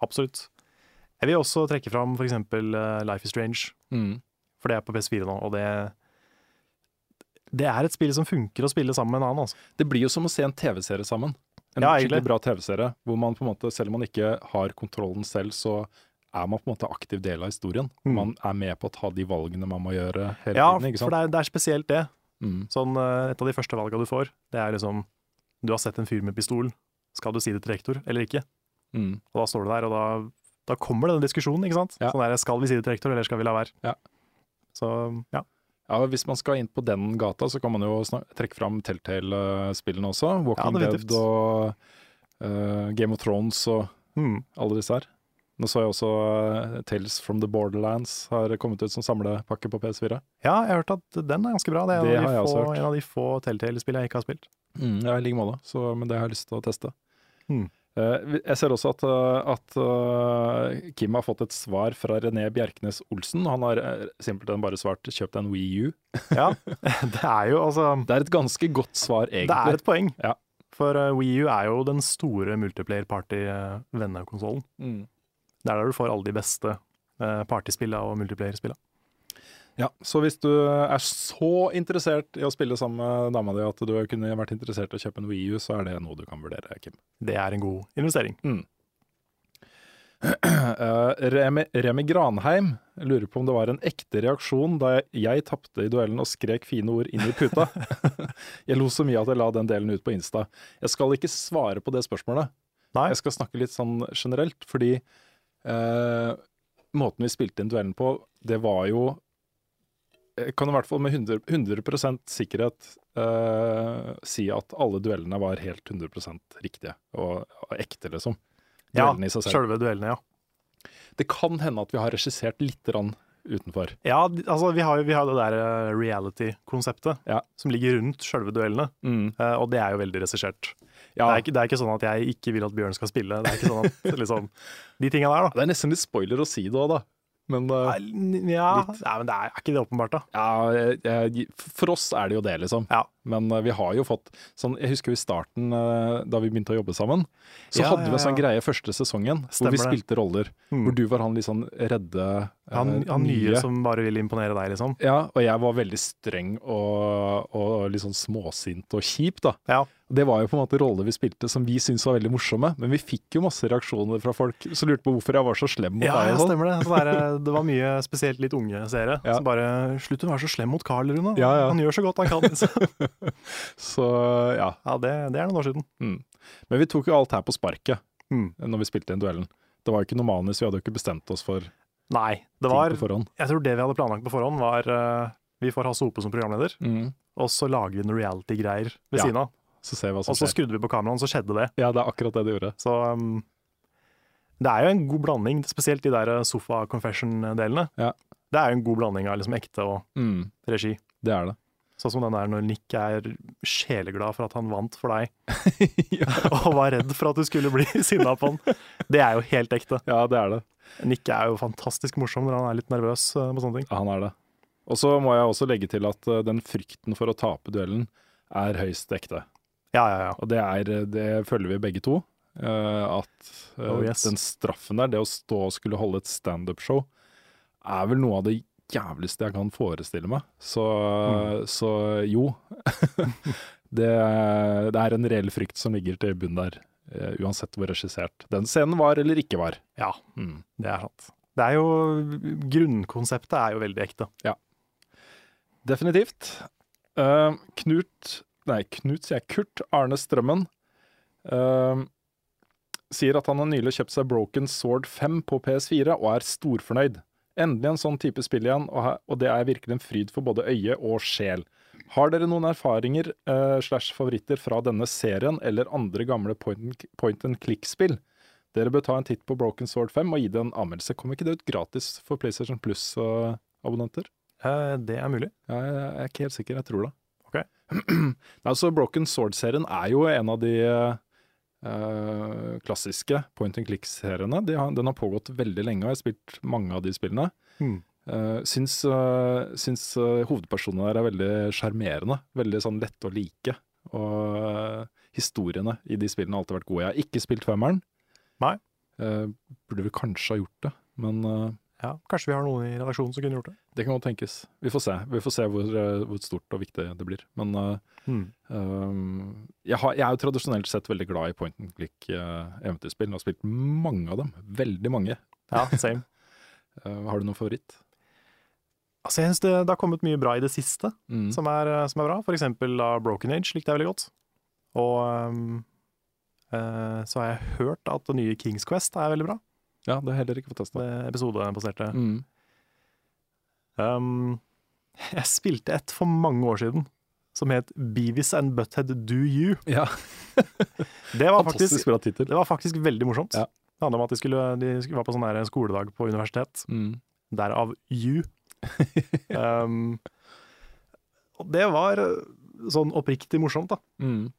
Absolutt. Jeg vil også trekke fram f.eks. Life is Strange, Mm. for det er på PS4 nå, og det Det er et spill som funker å spille sammen med en annen, altså. Det blir jo som å se en TV-serie sammen. En Ja, egentlig. skikkelig bra TV-serie, hvor man på en måte, selv om man ikke har kontrollen selv, så er man på en måte aktiv del av historien. Mm. Man er med på å ta de valgene man må gjøre hele Ja, tiden. ikke for sant? det er, det er spesielt det. Mm. Sånn, eh, et av de første valga du får, det er liksom Du har sett en fyr med pistol, skal du si det til rektor eller ikke? Mm. Og da står du der, og da, da kommer den diskusjonen, ikke sant? Ja. Sånn der, skal vi si det til rektor, eller skal vi la være? Ja. Så ja. Ja, og Hvis man skal inn på den gata, så kan man jo snak- trekke fram Telltale-spillene også. Walking definitivt. Dead og eh, Game of Thrones og Hmm. alle disse her. Nå så jeg også eh, Tales from the Borderlands har kommet ut som samlepakke på PS4. Ja, jeg har hørt at den er ganske bra. Det er en, Det av, de har jeg også få, hørt. en av de få Telltale-spill jeg ikke har spilt. Mm, ja, i like måte, så, men det har jeg lyst til å teste. Mm. Eh, vi- jeg ser også at, eh, at eh, Kim har fått et svar fra René Bjerknes Olsen. Han har eh, simpelthen bare svart 'kjøpt en Wii U'. Ja, det er jo altså Det er et ganske godt svar, egentlig. Det er et poeng. Ja. For uh, Wii U er jo den store multiplayer-party-vennekonsollen. Mm. Det er der du får alle de beste uh, partyspilla og multiplayer-spilla. Ja, Så hvis du er så interessert i å spille sammen med dama di at du kunne vært interessert i å kjøpe en Wii U, så er det noe du kan vurdere, Kim. Det er en god investering. Eh, Remi, Remi Granheim lurer på om det var en ekte reaksjon da jeg, jeg tapte i duellen og skrek fine ord inn i puta. jeg lo så mye at jeg la den delen ut på Insta. Jeg skal ikke svare på det spørsmålet. Nei. Jeg skal snakke litt sånn generelt, fordi eh, måten vi spilte inn duellen på, det var jo Jeg kan i hvert fall med 100, 100 sikkerhet eh, si at alle duellene var helt 100 riktige og, og ekte, liksom. Ja, Duellene i seg selv. Sjølve duellene, ja. Det kan hende at vi har regissert litt rann utenfor. Ja, d- altså Vi har jo vi har det der uh, reality-konseptet Ja. som ligger rundt sjølve duellene, uh, og det er jo veldig regissert. Det, Ja, er ikke- det er ikke sånn at jeg ikke vil at Bjørn skal spille. Det er ikke sånn at liksom De tinga der, da. det er nesten litt spoiler å si det òg, da. Men eh, Nei, Ja, nei, men det er, er ikke det åpenbart, da? ja, jeg- for oss er det jo det, liksom. Ja. Men eh, vi har jo fått sånn Jeg husker jo i starten, eh, da vi begynte å jobbe sammen, så Ja, hadde ja, vi en sånn ja. greie første sesongen Stemmer hvor vi det. spilte roller. Mm. Hvor du var han litt sånn redde, eh, Han, han nye som bare vil imponere deg, liksom. Ja, og jeg var veldig streng og, og litt sånn småsint og kjip, da. Ja. Det var jo på en måte roller vi spilte som vi syntes var veldig morsomme, men vi fikk jo masse reaksjoner fra folk som lurte på hvorfor jeg var så slem mot Ja, deg. ja, og sånn. stemmer det. Så det, er, det var mye spesielt litt unge seere Ja. som bare 'Slutt å være så slem mot Carl, Rune. Ja, ja. Han gjør så godt han kan.' Så, Så ja. ja, det, det er noen år siden. Mm. Men vi tok jo alt her på sparket Mm. når vi spilte inn duellen. Det var jo ikke noe manus, vi hadde jo ikke bestemt oss for Nei. Det ting var på forhånd. Jeg tror det vi hadde planlagt på forhånd, var eh, vi får ha Sope som programleder, Mm. og så lager vi noen reality-greier ved Ja, siden av. Så ser vi hva som Og så skjer. skrudde vi på kameraet, så skjedde det. Ja, det er akkurat det det gjorde. Så um, det er jo en god blanding, spesielt de der sofa-confession-delene. Ja. Det er jo en god blanding av liksom ekte og Mm. regi. Det er det. Sånn som den der når Nick er sjeleglad for at han vant for deg, og var redd for at du skulle bli sinna på han. Det er jo helt ekte. Ja, det er det. Nick er jo fantastisk morsom når han er litt nervøs eh, på sånne ting. Ja, han er det. Og så må jeg også legge til at eh, den frykten for å tape duellen er høyst ekte. Ja, ja, ja. Og det, er, det føler vi begge to. eh, at eh, Oh, yes. den straffen der, det å stå og skulle holde et standup-show, er vel noe av det jævligste jeg kan forestille meg. Så, Mm. så jo. det, det er en reell frykt som ligger til bunn der, eh, uansett hvor regissert den scenen var eller ikke var. Ja, Mm. det er sant. Det er jo, Grunnkonseptet er jo veldig ekte. Definitivt. Eh, Knut Nei, Knut sier jeg. Kurt Arne Strømmen eh, sier at han har nylig kjøpt seg Broken Sword 5 på PS4 og er storfornøyd. Endelig en sånn type spill igjen, og, he- og det er virkelig en fryd for både øye og sjel. Har dere noen erfaringer eh, slash favoritter fra denne serien eller andre gamle point and- point and click-spill? Dere bør ta en titt på Broken Sword 5 og gi det en anmeldelse. Kommer ikke det ut gratis for PlayStation Plus-abonnenter? Eh, Det er mulig. Ja, jeg jeg er ikke helt sikker, jeg tror det. Ok. Nei, altså Broken Sword-serien er jo en av de eh, klassiske point and click-seriene. De har, den har pågått veldig lenge, og jeg har spilt mange av de spillene. Mm. Uh, syns eh, syns eh, hovedpersonene der er veldig sjarmerende. Veldig sånn lette å like. Og eh, historiene i de spillene har alltid vært gode. Jeg har ikke spilt femmeren. Nei. Eh, burde vel kanskje ha gjort det, men eh, Ja, Kanskje vi har noen i redaksjonen som kunne gjort det. det kan godt tenkes. Vi får se, vi får se hvor, eh, hvor stort og viktig det blir. Men eh, Hmm. Um, jeg, har, jeg er jo tradisjonelt sett veldig glad i point and click uh, eventyrspill. Jeg har spilt mange av dem. Veldig mange. Ja, same. Uh, har du noen favoritt? Altså, jeg synes det, det har kommet mye bra i det siste Mm. som, er, eh, som er bra. For eksempel da Broken Age likte jeg veldig godt. Og ehm, eh, så har jeg hørt at det nye Kings Quest er veldig bra. Ja, det har jeg heller ikke fått testa. Det episodebaserte. Mm. Um, jeg spilte et for mange år siden som het Beavis and Butthead Do You. Ja, Det var faktisk, fantastisk bra tittel. det var faktisk veldig morsomt. Ja. Det handla om at de, skulle, de skulle- var på sånn der skoledag på universitet. Mm. derav you. um, og det var eh, sånn oppriktig morsomt, da. Mm.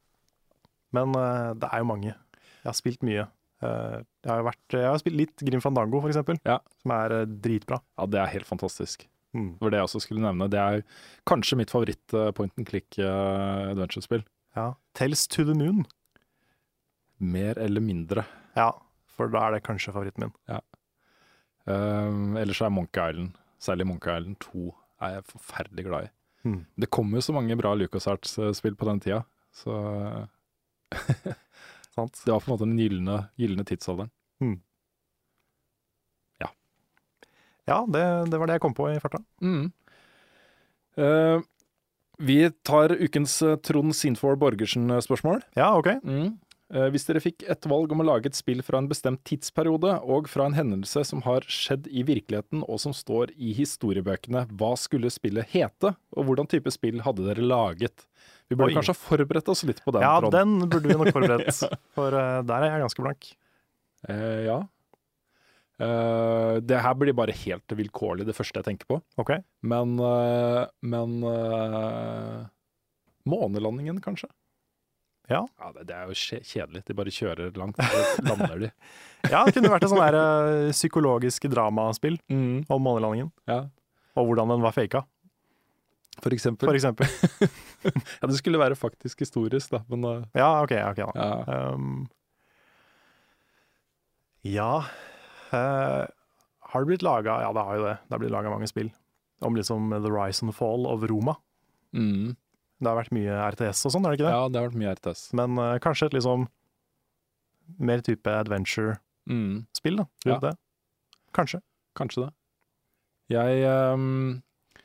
Men eh, det er jo mange. Jeg har spilt mye. Eh, jeg, har jo vært, jeg har spilt litt Grim Fandango, for eksempel, Ja. Mm. som er eh, dritbra. Ja, det er helt fantastisk. Det var det jeg også skulle nevne. Det er kanskje mitt favoritt uh, point and click uh, adventure-spill. Ja. Tales to the Moon. Mer eller mindre. Ja, for da er det kanskje favoritten min. Um, ellers er Monkey Island, særlig Monkey Island 2, er jeg forferdelig glad i. Mm. Det kom jo så mange bra LucasArts-spill på den tida, så Sant? det var på en måte den gylne, gylne tidsalderen. Ja, det, det var det jeg kom på i farta. Eh, Mm. vi tar ukens eh, Trond Sinfor Borgersen-spørsmål. Ja, OK. Eh, Hvis dere fikk et valg om å lage et spill fra en bestemt tidsperiode, og fra en hendelse som har skjedd i virkeligheten og som står i historiebøkene, hva skulle spillet hete, og hvordan type spill hadde dere laget? Vi burde Oi. kanskje ha forberedt oss litt på den, Ja, Trond. den burde vi nok forberedt, for eh, der er jeg ganske blank. Eh, ja. Eh, det her blir bare helt vilkårlig, det første jeg tenker på. OK. Men, eh, men eh, Månelandingen, kanskje? Ja. det, det er jo kje- kjedelig. De bare kjører langt, og lander de. Ja, det kunne vært et sånn der eh, psykologisk dramaspill om månelandingen. Mm. Ja. Og hvordan den var faka, For eksempel. for eksempel. Ja, det skulle være faktisk historisk, da, men eh, Ja, ok, ok da. ja. Um, ja eh, Har det blitt laga Ja, det har jo det. Det har blitt laga mange spill om liksom the rise and fall of Roma. Mm. Det har vært mye RTS og sånn, er det ikke det? ja, det har vært mye RTS. Men eh, kanskje et liksom mer type adventure-spill, Mm. da. Ja. Rundt det. Kanskje. Kanskje det. Jeg ehm, I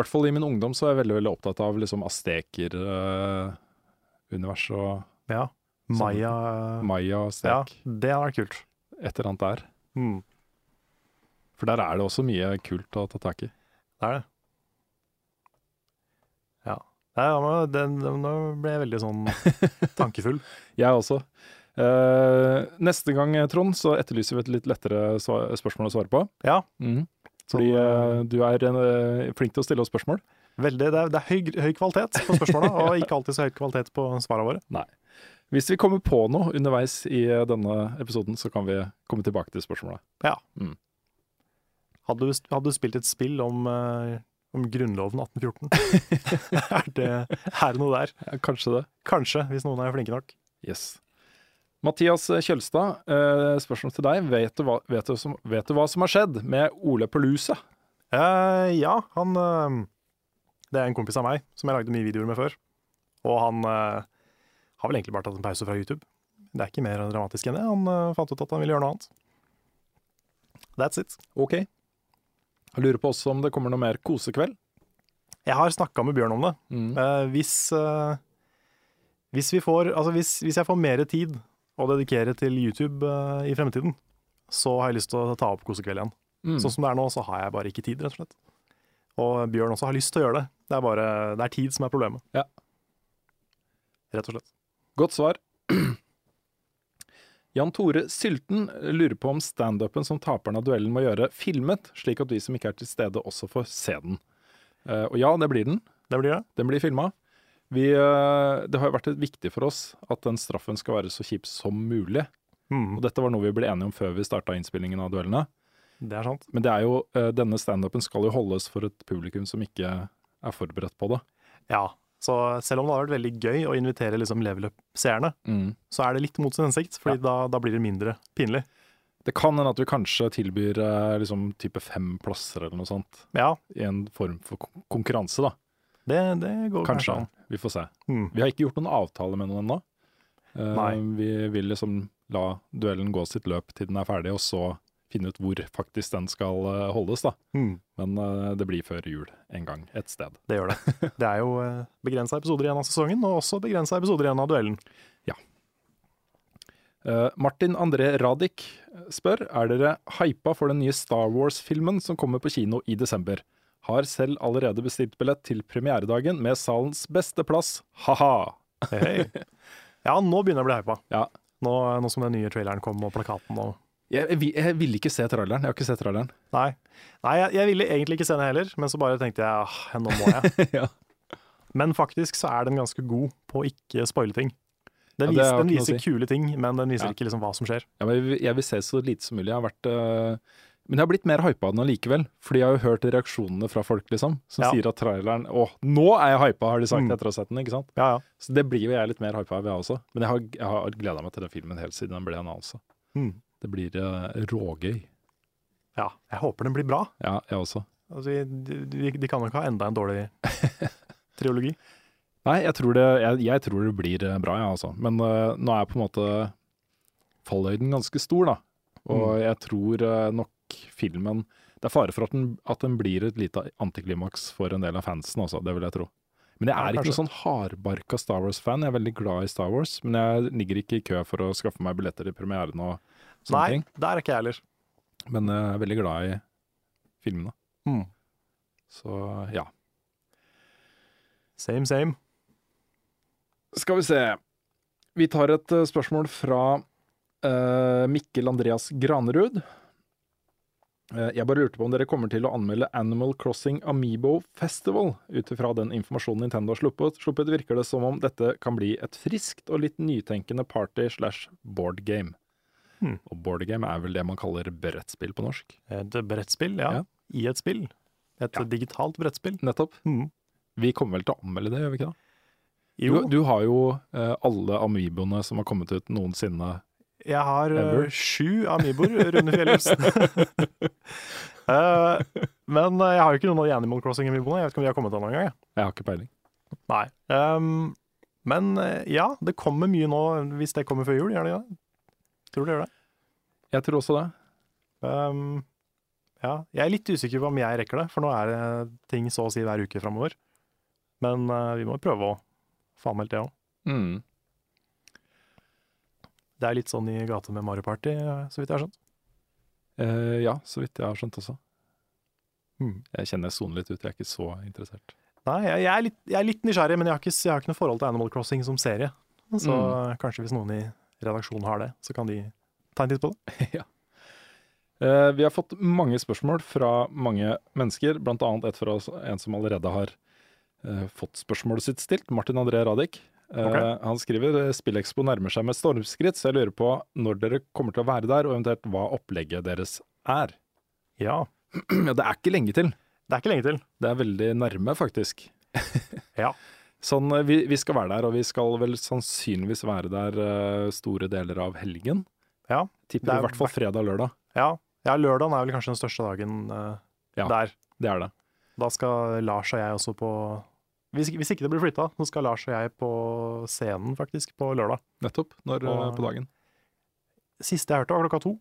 hvert fall i min ungdom så er jeg veldig veldig opptatt av liksom asteker-universet og Ja. Maya Ja, maya-astek. det hadde vært kult. Et eller annet der. Mm, For der er det også mye kult å ta tak i. det er det. Ja. Nei, ja, men den, den, nå ble jeg veldig sånn tankefull. Jeg også. Eh, neste gang, Trond, så etterlyser vi et litt lettere sva- spørsmål å svare på. Ja. Mhm. Fordi Sånn, eh, du er eh, flink til å stille oss spørsmål. Veldig, det er, det er høy, høy kvalitet på spørsmåla, og ikke alltid så høy kvalitet på svarene våre. Hvis vi kommer på noe underveis i eh, denne episoden, så kan vi komme tilbake til spørsmålet. Hadde du, hadde du spilt et spill om, eh, om Grunnloven 1814? er, det, er det noe der? Ja, kanskje det. Kanskje, hvis noen er flinke nok. Yes. Mathias eh, Kjølstad, eh, spørsmål til deg. Vet du, hva, vet, du som, vet du hva som har skjedd med Ole Palusa? Eh, ja, han eh, Det er en kompis av meg som jeg lagde mye videoer med før. Og han eh, har vel egentlig bare tatt en pause fra YouTube. Det er ikke mer dramatisk enn det. Han eh, fant ut at han ville gjøre noe annet. That's it. Ok. Jeg lurer på også om det kommer noe mer kosekveld. Jeg har snakka med Bjørn om det. Mm. Eh, hvis, eh, hvis, vi får, altså hvis, hvis jeg får mer tid å dedikere til YouTube eh, i fremtiden, så har jeg lyst til å ta opp Kosekveld igjen. Mm. Sånn som det er nå, så har jeg bare ikke tid, rett og slett. Og Bjørn også har lyst til å gjøre det. Det er bare det er tid som er problemet. Ja. Rett og slett. Godt svar. Jan Tore Sylten lurer på om standupen som taperen av duellen må gjøre, filmet, slik at vi som ikke er til stede, også får se den. Eh, og ja, det blir den. Det blir det. Den blir filma. Vi, eh, det har jo vært et viktig for oss at den straffen skal være så kjip som mulig. Og Mm, dette var noe vi ble enige om før vi starta innspillingen av duellene. det er sant. Men det er jo, eh, denne standupen skal jo holdes for et publikum som ikke er forberedt på det. Ja. Så selv om det har vært veldig gøy å invitere liksom level up-seerne, Mm. så er det litt mot sin hensikt, fordi da, da blir det mindre pinlig. Det kan hende at vi kanskje tilbyr eh, liksom type fem plasser eller noe sånt. Ja, i en form for kon- konkurranse, da. det, det går Kanskje. Vi får se. Mm. Vi har ikke gjort noen avtale med noen ennå. Eh, Nei. Vi vil liksom la duellen gå sitt løp til den er ferdig, og så finne ut hvor faktisk den skal eh, holdes, da. Mm, Men eh, det blir før jul en gang, et sted. det gjør det. Det er jo eh, begrensa episoder igjen av sesongen, og også begrensa episoder igjen av duellen. Eh, Martin André Radik spør er dere hypa for den nye Star Wars-filmen som kommer på kino i desember. Har selv allerede bestilt billett til premieredagen med salens beste plass, ha-ha! Hei. Ja, nå begynner jeg å bli hypa. Ja, Nå, nå som den nye traileren kom, og plakaten og Jeg, jeg, vil- jeg ville ikke se traileren. Jeg har ikke sett traileren. Nei, Nei jeg, jeg ville egentlig ikke se den heller, men så bare tenkte jeg ah, nå må jeg. Ja. Men faktisk så er den ganske god på å ikke spoile ting. Den Ja, det viser, har den ikke noe å viser kule ting, men den viser Ja. ikke liksom hva som skjer. Ja, men Jeg, vil- jeg vil se så lite som mulig. Jeg har vært, øh, men jeg har blitt mer hypa av den allikevel. Fordi jeg har jo hørt reaksjonene fra folk liksom, som Ja. sier at traileren Å, nå er jeg hypa, har de sagt Mm. etter å ha sett den. ikke sant? Ja, ja. Så det blir jo jeg litt mer hypa av, jeg også. Men jeg har, jeg har gleda meg til den filmen helt siden den ble annonsa. Mm. Det blir øh, rågøy. ja. Jeg håper den blir bra. Ja, jeg også. Altså, de, de, de kan jo ikke ha enda en dårlig triologi. Nei, jeg tror det, jeg, jeg tror det blir eh, bra, ja, altså. Men eh, nå er på en måte fallhøyden ganske stor, da. Og Mm. jeg tror eh, nok filmen Det er fare for at den, at den blir et lite antiklimaks for en del av fansen, altså. Det vil jeg tro. Men jeg Ja, er ikke kanskje. noen sånn hardbarka Star Wars-fan. Jeg er veldig glad i Star Wars, men jeg ligger ikke i kø for å skaffe meg billetter til premieren og sånne Nei, ting. der er ikke jeg heller. Men eh, jeg er veldig glad i filmene. Mm. Så ja. Same, same. Skal vi se. Vi tar et eh, spørsmål fra eh, Mikkel Andreas Granerud. Eh, jeg bare lurte på om dere kommer til å anmelde Animal Crossing Amiibo Festival. Ut ifra den informasjonen Nintendo har sluppet, sluppet, virker det som om dette kan bli et friskt og litt nytenkende party slash board game. Hmm. Og board game er vel det man kaller brettspill på norsk. Et brettspill, ja. Ja. I et spill. Et Ja. digitalt brettspill. Nettopp. Mm. Vi kommer vel til å anmelde det, gjør vi ikke det? Jo, Du, du har jo eh, alle Amiiboene som har kommet ut noensinne Jeg har eh, Ever. sju amiboer, Rune Fjellhufsen. Eh, men eh, jeg har jo ikke noen av de Animal Crossing-amiboene. Jeg vet ikke om de har kommet ennå engang. jeg. Jeg har ikke peiling. Nei. Ehm, men eh, ja, det kommer mye nå, hvis det kommer før jul. Gjør det ikke det? Tror det gjør det. Jeg tror også det. Ehm, ja. Jeg er litt usikker på om jeg rekker det, for nå er det ting så å si hver uke framover. Men eh, vi må prøve å få anmeldt det òg. Mm. Det er litt sånn i gata med Mario Party, eh, så vidt jeg har skjønt. Eh, ja, så vidt jeg har skjønt også. Mm. Jeg kjenner jeg soner litt ut, jeg er ikke så interessert. Nei, jeg, jeg, er litt, jeg er litt nysgjerrig, men jeg har, ikke, jeg har ikke noe forhold til Animal Crossing som serie. Så kanskje hvis noen i redaksjonen har det, så kan de ta en titt på det. Eh, vi har fått mange spørsmål fra mange mennesker, blant annet et fra oss- en som allerede har eh, fått spørsmålet sitt stilt, Martin André Radek. Eh, Ok. Han skriver eh, Spillekspo nærmer seg med stormskritt, så jeg lurer på når dere kommer til å være der, og eventuelt hva opplegget deres er. Ja, ja, det er ikke lenge til. det er ikke lenge til. Det er veldig nærme, faktisk. Ja. Sånn, eh, vi, vi skal være der, og vi skal vel sannsynligvis være der eh, store deler av helgen. Ja, Tipper det er i hvert fall fredag og lørdag. Ja, ja lørdagen er vel kanskje den største dagen eh, Ja. der. Det er det. Da skal Lars og jeg også på Hvis, ikke- hvis ikke det blir flytta, så skal Lars og jeg på scenen faktisk på lørdag. Nettopp. Når, Og- Mm. eh, på dagen. Siste jeg hørte, var klokka to.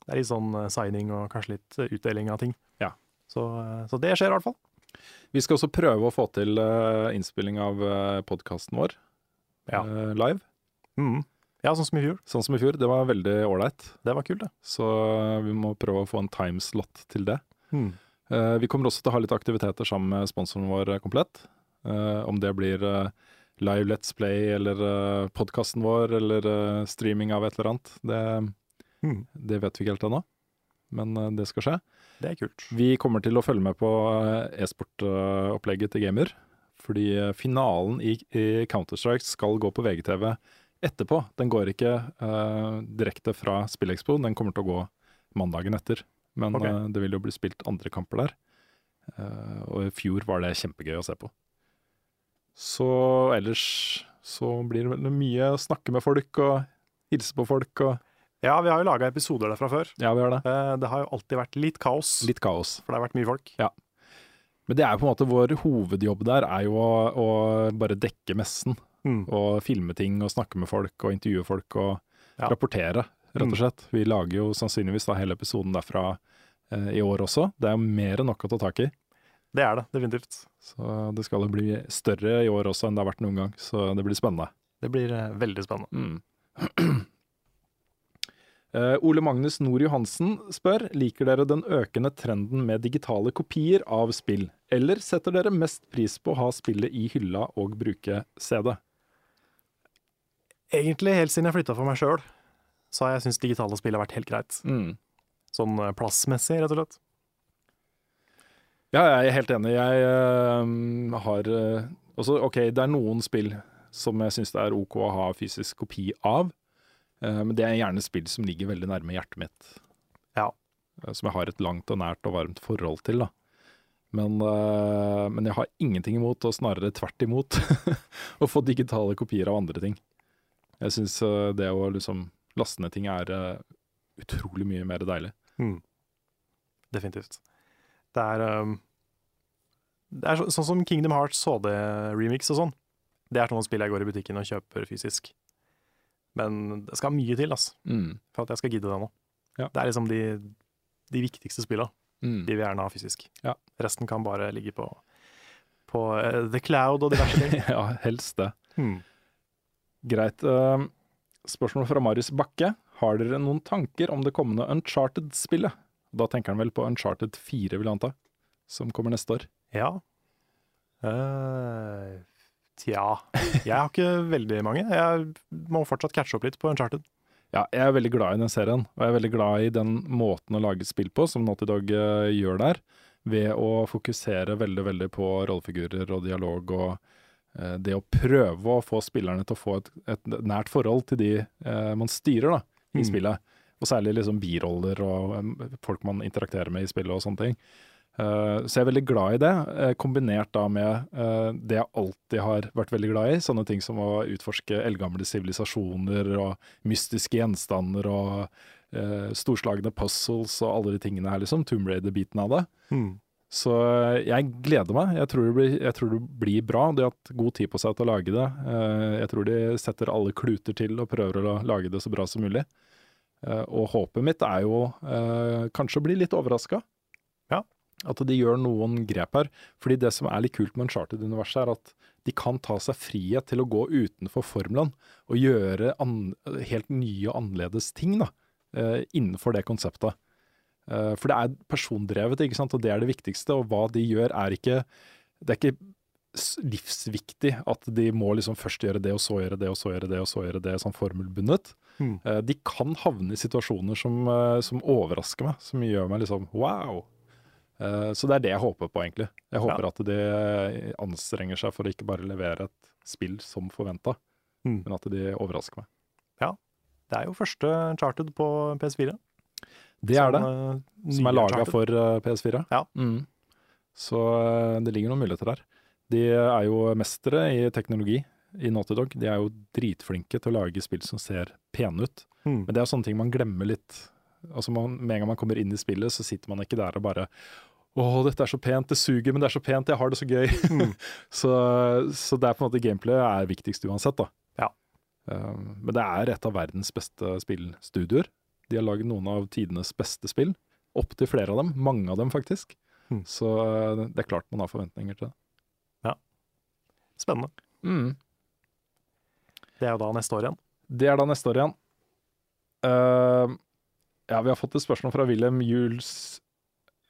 Det er litt sånn eh, signing og kanskje litt eh, utdeling av ting. Ja. Så, eh, så det skjer i hvert fall. Vi skal også prøve å få til eh, innspilling av uh, podkasten vår Ja. eh, live, Mhm. Ja, sånn som i fjor. sånn som i fjor. Det var veldig ålreit, Det var kult, det. så eh, vi må prøve å få en timeslot til det. Mm. Eh, vi kommer også til å ha litt aktiviteter sammen med sponsoren vår eh, komplett. Eh, om det blir eh, live Let's Play eller uh, podkasten vår eller eh, streaming av et eller annet, det, Mhm. det vet vi ikke helt ennå. Men eh, det skal skje. Det er kult. Vi kommer til å følge med på eh, e-sportopplegget til Gamer. Fordi eh, finalen i, i Counter-Strike skal gå på VGTV etterpå. Den går ikke eh, direkte fra SpillExpo, den kommer til å gå mandagen etter. Men Ok. eh, det vil jo bli spilt andre kamper der. Eh, og i fjor var det kjempegøy å se på. Så ellers så blir det vel mye å snakke med folk og hilse på folk og Ja, vi har jo laga episoder derfra før. Ja, vi har det. Eh, Det har jo alltid vært litt kaos, Litt kaos. for det har vært mye folk. Men det er jo på en måte vår hovedjobb der, er jo å, å bare dekke messen. Mhm. Og filme ting og snakke med folk og intervjue folk og Ja. rapportere, rett og slett. Vi lager jo sannsynligvis da hele episoden derfra eh, i år også. Det er jo mer enn nok å ta tak i. Det er det, definitivt. Så det skal jo bli større i år også enn det har vært noen gang, så det blir spennende. Det blir eh, veldig spennende. Eh, Ole Magnus Nord Johansen spør Liker dere den økende trenden med digitale kopier av spill, eller setter dere mest pris på å ha spillet i hylla og bruke CD? Egentlig helt siden jeg flytta for meg sjøl, så har jeg syntes digitale spill har vært helt greit. Sånn eh, plassmessig, rett og slett. Ja, jeg er helt enig. Jeg eh, har eh, også, OK, det er noen spill som jeg syns det er OK å ha fysisk kopi av, eh, men det er gjerne spill som ligger veldig nærme hjertet mitt. Ja. Eh, Som jeg har et langt og nært og varmt forhold til, da. Men, eh, men jeg har ingenting imot, og snarere tvert imot, å få digitale kopier av andre ting. Jeg syns det å liksom laste ned ting er eh, utrolig mye mer deilig. Definitivt. Det er, um, det er så, sånn som Kingdom Hearts HD-remix og sånn. Det er sånne spill jeg går i butikken og kjøper fysisk. Men det skal mye til ass, for at jeg skal gidde det nå. Ja. Det er liksom de, de viktigste spilla. Mm. De vil gjerne ha fysisk. Ja. Resten kan bare ligge på, på eh, The Cloud og diverse ting. ja, helst det. Hmm. Greit. eh, Spørsmål fra Marius Bakke. Har dere noen tanker om det kommende Uncharted-spillet? Da tenker han vel på Uncharted 4, vil jeg anta, som kommer neste år. Ja. Eh, tja. Jeg har ikke veldig mange. Jeg må fortsatt catche opp litt på Uncharted. Ja, jeg er veldig glad i den serien, og jeg er veldig glad i den måten å lage spill på som Naughty Dog eh, gjør der, ved å fokusere veldig, veldig på rollefigurer og dialog og eh, det å prøve å få spillerne til å få et, et nært forhold til de eh, man styrer da, i Mm. spillet. Og særlig liksom biroller og em, folk man interakterer med i spillet og sånne ting. Eh, så jeg er veldig glad i det, eh, kombinert da med eh, det jeg alltid har vært veldig glad i. Sånne ting som å utforske eldgamle sivilisasjoner og mystiske gjenstander og eh, storslagne puzzles og alle de tingene her, liksom. Tomb Raider-biten av det. Hmm. Så eh, jeg gleder meg. Jeg tror det blir, jeg tror det blir bra. De har hatt god tid på seg til å lage det. Eh, Jeg tror de setter alle kluter til og prøver å lage det så bra som mulig. Eh, Og håpet mitt er jo eh, kanskje å bli litt overraska. Ja. At de gjør noen grep her. Fordi det som er litt kult med Uncharted-universet, er at de kan ta seg frihet til å gå utenfor formelen og gjøre an helt nye og annerledes ting da, eh, innenfor det konseptet. Eh, For det er persondrevet, ikke sant? og det er det viktigste. Og hva de gjør, er ikke Det er ikke s- livsviktig at de må liksom først gjøre det, og så gjøre det, og så gjøre det, og så gjøre det, sånn formelbundet. Hmm. Eh, De kan havne i situasjoner som, eh, som overrasker meg, som gjør meg liksom wow. Eh, Så det er det jeg håper på, egentlig. Jeg håper at de anstrenger seg for å ikke bare levere et spill som forventa, Hmm. men at de overrasker meg. Det er jo første Uncharted på PS4. Det er det. Sånn, eh, Som nye er laga Uncharted. for eh, PS4. Ja. Mm. Så eh, det ligger noen muligheter der. De eh, er jo mestere i teknologi i Naughty Dog. De er jo dritflinke til å lage spill som ser pene ut. Hmm. Men det er sånne ting man glemmer litt. Altså man, Med en gang man kommer inn i spillet, så sitter man ikke der og bare Å, dette er så pent, det suger, men det er så pent, jeg har det så gøy. Mm. så, så det er på en måte gameplayet er viktigst uansett, da. Ja. Eh, men det er et av verdens beste spillstudioer. De har lagd noen av tidenes beste spill. Opptil flere av dem. Mange av dem, faktisk. Mm. Så eh, det er klart man har forventninger til det. Mm. Spennende. Det er jo da neste år igjen. Det er da neste år igjen. Eh, ja, vi har fått et spørsmål fra Wilhelm Jules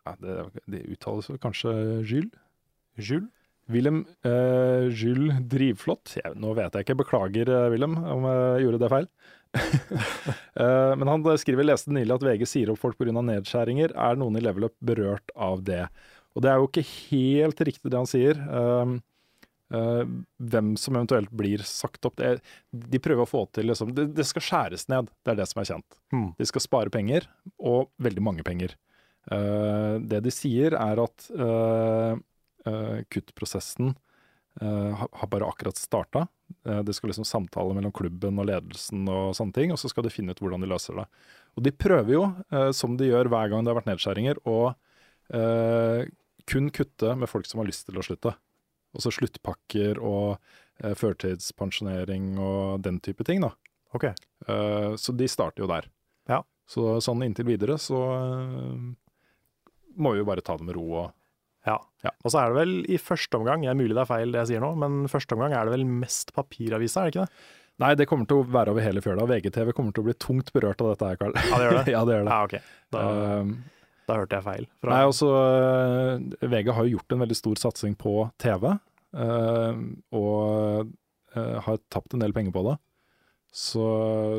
ja, det, det uttales vel kanskje Jules? Jul? Willem eh, Jules Drivflot jeg, Nå vet jeg ikke, beklager eh, Willem om jeg gjorde det feil. Eh, men han skriver leste nylig at VG sier opp folk pga. nedskjæringer. Er noen i Level Up berørt av det? Og det er jo ikke helt riktig det han sier. Um, eh, hvem som eventuelt blir sagt opp. Det, de prøver å få til liksom, det, det skal skjæres ned, det er det som er kjent. Mm. De skal spare penger, og veldig mange penger. Eh, det de sier er at eh, eh, kuttprosessen eh, har har bare akkurat starta. Eh, det skal liksom samtale mellom klubben og ledelsen og sånne ting, og så skal de finne ut hvordan de løser det. Og de prøver jo, eh, som de gjør hver gang det har vært nedskjæringer, å eh, kun kutte med folk som har lyst til å slutte. Også sluttpakker og eh, førtidspensjonering og den type ting, da. Ok. Eh, Så de starter jo der. Ja. Så sånn inntil videre så eh, må vi jo bare ta det med ro og Ja. Ja. Og så er det vel i første omgang, det er mulig det er feil det jeg sier nå, men første omgang er det vel mest papiraviser, er det ikke det? Nei, det kommer til å være over hele fjøla. VGTV kommer til å bli tungt berørt av dette her, Karl. Ja, det gjør det. ja, det gjør det. Ja, Ah, ok. Da, Eh, da hørte jeg feil. Fra, Nei, også eh, VG har jo gjort en veldig stor satsing på TV, eh, og eh, har tapt en del penger på det. Så,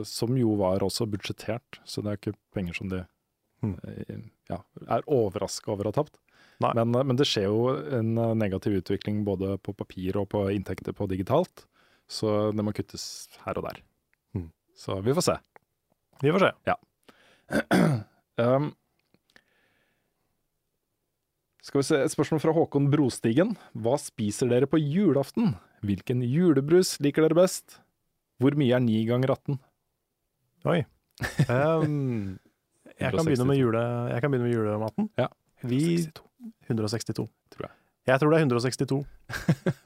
som jo var også budsjettert, så det er ikke penger som de Mm. eh, ja, er overraska over å ha tapt. Nei. Men, eh, men det skjer jo en eh, negativ utvikling både på papir og på inntekter på digitalt, så det må kuttes her og der. Mm. Så vi får se. Vi får se. Um, skal vi se, Et spørsmål fra Håkon Brostigen. Hva spiser dere på julaften? Hvilken julebrus liker dere best? Hvor mye er ni ganger 18? Ehm, jeg, kan begynne med jule, jeg kan begynne med julematen. Ja. Vi 162. Tror jeg. Jeg tror det er 162.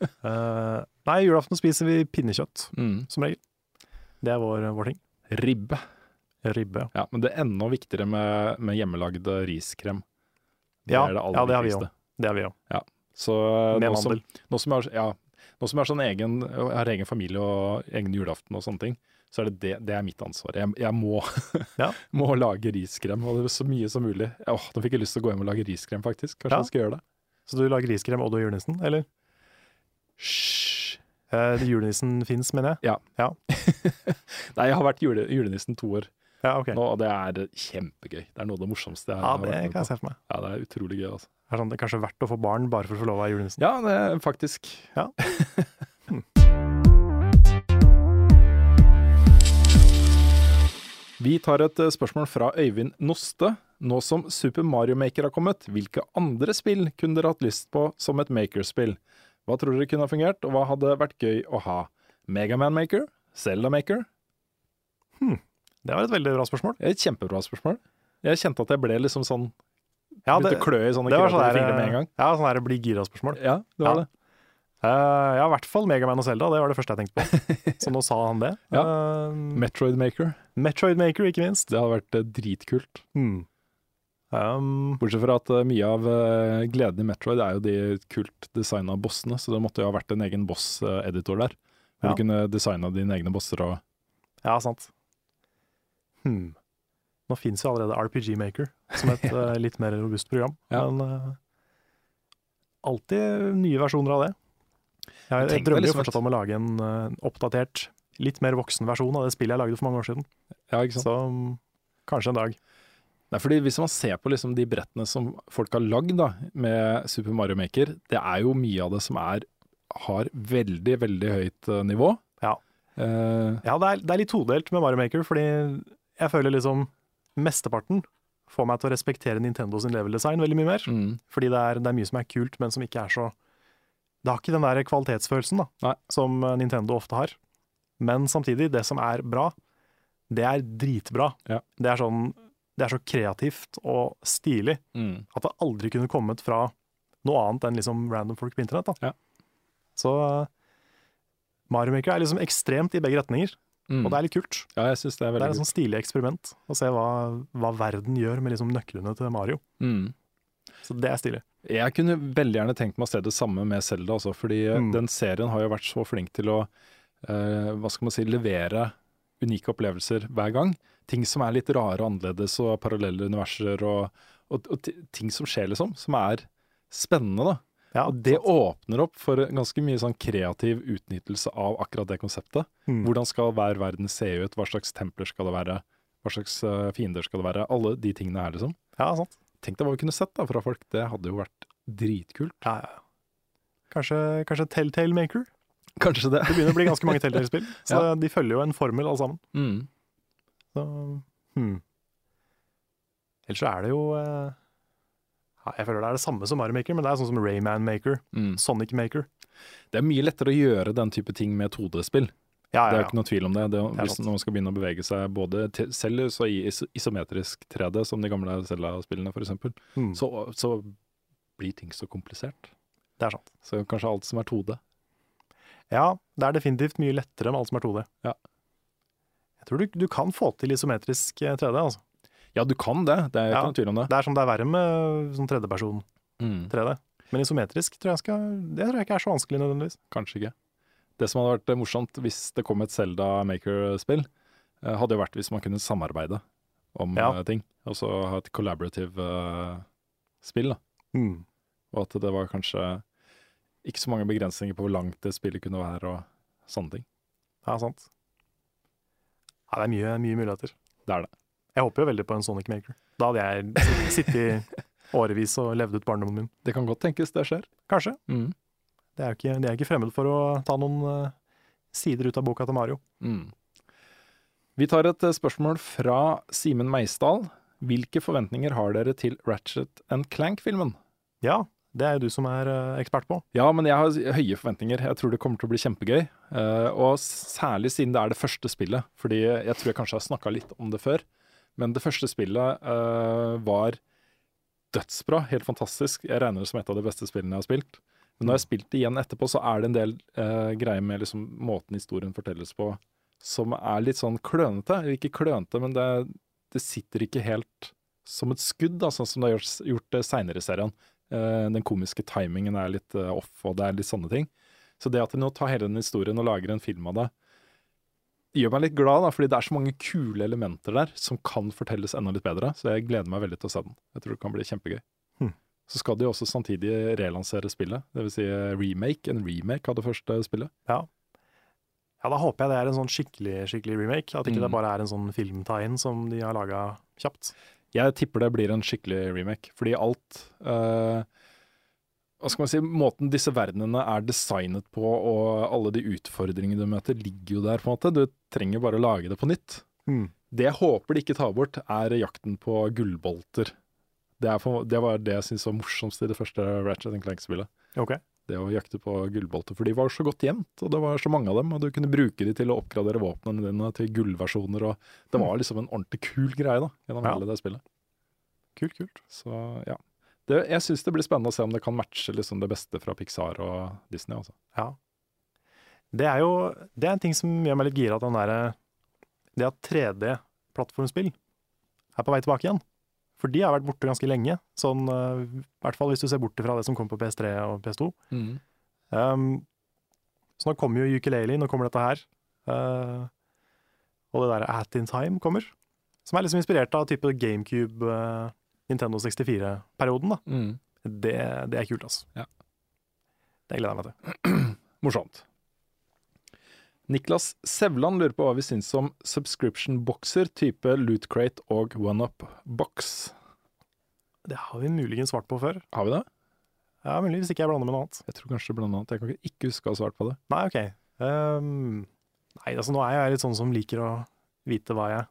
Eh, nei, julaften spiser vi pinnekjøtt, Mm. som regel. Det er vår, vår ting. Ribbe. Ribbe. Ja, Men det er enda viktigere med, med hjemmelagd riskrem. Ja, ja, det har vi også. Det er vi òg. Så eh, Med nå som, mandel. nå som jeg har, ja, nå som jeg har, sånn egen, jeg har egen familie og egen julaften og sånne ting, så er det, det, det er mitt ansvar. Jeg, jeg må, Ja. må lage riskrem, og det er så mye som mulig. Åh, nå fikk jeg lyst til å gå hjem og lage riskrem, faktisk. Kanskje Ja. jeg skal gjøre det? Så du lager riskrem, og du er julenissen, eller? Hysj. Eh, julenissen fins, mener jeg. Nei, jeg har vært jule, julenissen to år Ja, ok. nå, og det er kjempegøy. Det er noe av det morsomste jeg Ja, har det vært med kan jeg på. se for meg. Ja, det er utrolig gøy, altså. Det er sånn, det er kanskje verdt å få barn bare for å få lov av julenissen. Ja, det er faktisk. Ja. Hmm. Vi tar et eh, spørsmål fra Øyvind Noste. Nå som Super Mario Maker har kommet, hvilke andre spill kunne dere hatt lyst på som et Maker-spill? Hva tror dere kunne ha fungert, og hva hadde vært gøy å ha? Megaman Maker? Zelda Maker? Det var et veldig bra spørsmål. Et kjempebra spørsmål. Jeg kjente at jeg ble liksom sånn Ja, det, Begynte å klø i sånne det var sånn der, kreative fingre med en gang. ja, sånn der bli gira-spørsmål. Ja, det var Ja. det. Eh, ja, i hvert fall Megaman og Zelda, det var det første jeg tenkte på. Så nå sa han det. Eh, Metroid Maker. Metroid Maker, ikke minst. Det hadde vært eh, dritkult. Hmm. Um, Bortsett fra at eh, mye av eh, gleden i Metroid er jo de kult designa bossene, så det måtte jo ha vært en egen boss-editor der. Hvor Ja. du kunne designa dine egne bosser og ja, sant. Hmm. Nå fins jo allerede RPG Maker, som et eh, litt mer robust program. Ja. Men eh, alltid nye versjoner av det. Jeg, tenk jeg deg drømmer jo liksom et- fortsatt om å lage en eh, oppdatert, litt mer voksen versjon av det spillet jeg lagde for mange år siden. Ja, ikke sant. Så mm, kanskje en dag. Nei, fordi Hvis man ser på liksom de brettene som folk har lagd da, med Super Mario Maker, det er jo mye av det som er, har veldig, veldig høyt eh, nivå. Ja. Eh, Ja, det er, det er litt todelt med Mario Maker, fordi jeg føler liksom mesteparten får meg til å respektere Nintendo sin level design veldig mye mer. mm. Fordi det er, det er mye som er kult, men som ikke er så Det har ikke den der kvalitetsfølelsen da, Nei. som eh, Nintendo ofte har. Men samtidig, det som er bra, det er dritbra. Ja. Det er sånn Det er så kreativt og stilig Mm. at det aldri kunne kommet fra noe annet enn liksom random folk på internett. Da. Ja. Så eh, Mario Maker er liksom ekstremt i begge retninger, og det er litt kult. mm. Ja, jeg syns det er Det er veldig et kult. sånn stilig eksperiment å se hva, hva verden gjør med liksom nøklene til Mario. Mm. Så det er stilig. Jeg kunne veldig gjerne tenkt meg å se det samme med Selda også, fordi eh, Mm. den serien har jo vært så flink til å eh, hva skal man si, levere unike opplevelser hver gang. Ting som er litt rare og annerledes, og parallelle universer, og, og, og ti- ting som skjer, liksom. Som er spennende, da. Ja, Og det åpner opp for ganske mye sånn kreativ utnyttelse av akkurat det konseptet. Mm. Hvordan skal hver verden se ut, hva slags templer skal det være, hva slags eh, fiender skal det være. Alle de tingene her, liksom. ja, sant. Tenk deg hva vi kunne sett da fra folk, det hadde jo vært dritkult. Ja, ja. Kanskje, kanskje Telltale Maker? Kanskje det. Det begynner å bli ganske mange Telltale-spill, så Ja. de følger jo en formel alle sammen. Mm, Så, hmm. Ellers så er det jo eh, ja, Jeg føler det er det samme som Mario Maker, men det er sånn som Rayman Maker, Sonic Maker. mm. Det er mye lettere å gjøre den type ting med 2D-spill. Ja, Det er ja, jo ikke ja. noe tvil om det. det er, Det er hvis sant. noen skal begynne å bevege seg både til, selv så i is isometrisk 3D, som de gamle Zelda-spillene f.eks., Hmm. så, så blir ting så komplisert. Det er sånn. sant. Så kanskje alt som er 2D. Ja, det er definitivt mye lettere med alt som er 2D. Ja. Jeg tror du, du kan få til isometrisk eh, 3D, altså. Ja, du kan det, det er jo Ja. ikke noe tvil om det. Det er som det er verre med sånn tredjeperson Mm. 3D. Men isometrisk tror jeg, skal, det tror jeg ikke er så vanskelig nødvendigvis. Kanskje ikke. Det som hadde vært eh, morsomt hvis det kom et Selda Maker-spill, eh, hadde jo vært hvis man kunne samarbeide om Ja. eh, ting. Og så ha et collaborative eh, spill, da. Mm. Og at det var kanskje ikke så mange begrensninger på hvor langt det spillet kunne være og sånne ting. Ja, sant. Ja, det er mye, mye muligheter. Det er det. Jeg håper jo veldig på en Sonic Maker. Da hadde jeg sitt- sittet i årevis og levd ut barndommen min. Det kan godt tenkes det skjer. Kanskje. Det er jo ikke, det er ikke fremmed for å ta noen eh, sider ut av boka til Mario. Mm. Vi tar et eh, spørsmål fra Simen Meisdal. Hvilke forventninger har dere til Ratchet and Clank-filmen? Ja, det er jo du som er eh, ekspert på. Ja, men jeg har høye forventninger. Jeg tror det kommer til å bli kjempegøy. Eh, og særlig siden det er det første spillet. Fordi jeg tror jeg kanskje har snakka litt om det før. Men det første spillet eh, var dødsbra. Helt fantastisk. Jeg regner det som et av de beste spillene jeg har spilt. Men når jeg har spilt det igjen etterpå, så er det en del eh, greier med liksom, måten historien fortelles på som er litt sånn klønete. Eller Ikke klønete, men det, det sitter ikke helt som et skudd, da, sånn som det har gjort, gjort eh, seinere i serien. Eh, den komiske timingen er litt eh, off, og det er litt sånne ting. Så det at de nå tar hele den historien og lager en film av det, gjør meg litt glad, da, fordi det er så mange kule elementer der som kan fortelles enda litt bedre. Så jeg gleder meg veldig til å se den. Jeg tror det kan bli kjempegøy. Hmm. Så skal de jo også samtidig relansere spillet, dvs. Si eh, remake, en remake av det første spillet. Ja, da håper jeg det er en sånn skikkelig, skikkelig remake. At ikke Mm. det bare er en sånn filmtegn som de har laga kjapt. Jeg tipper det blir en skikkelig remake, fordi alt eh, Hva skal man si Måten disse verdenene er designet på, og alle de utfordringene du møter, ligger jo der, på en måte. Du trenger bare å lage det på nytt. Det jeg håper de ikke tar bort, er jakten på gullbolter. Det, er på- det var det jeg syntes var morsomst i det første Ratchet Clank-spillet. Ok. Det å jakte på gullbolter. For de var så godt gjemt, og det var så mange av dem. Og du kunne bruke de til å oppgradere våpnene dine til gullversjoner, og det var liksom en ordentlig kul greie da, gjennom Ja. hele det spillet. Kult, kult. Så ja. Det, jeg syns det blir spennende å se om det kan matche liksom det beste fra Pixar og Disney. Altså. Det er jo det er en ting som gjør meg litt gira, at den der, det at 3D-plattformspill er på vei tilbake igjen. For de har vært borte ganske lenge, sånn, eh, i hvert fall hvis du ser bort fra det som kom på PS3 og PS2. Ehm, så nå kommer jo ukulele, nå kommer dette her. Eh, og det der At In Time kommer, som er liksom inspirert av type GameCube, eh, Nintendo 64-perioden. da. Det, det er kult, altså. Ja. Det gleder jeg meg til. Morsomt. Niklas Sevland lurer på hva vi syns om subscription-bokser type Loot Crate og OneUp-boks. Det har vi muligens svart på før. Har vi det? Ja, mulig hvis ikke jeg blander med noe annet. Jeg tror kanskje blant annet. Jeg kan ikke- ikke huske å ha svart på det. Nei, ok. Ehm, nei, altså nå er jeg litt sånn som liker å vite hva jeg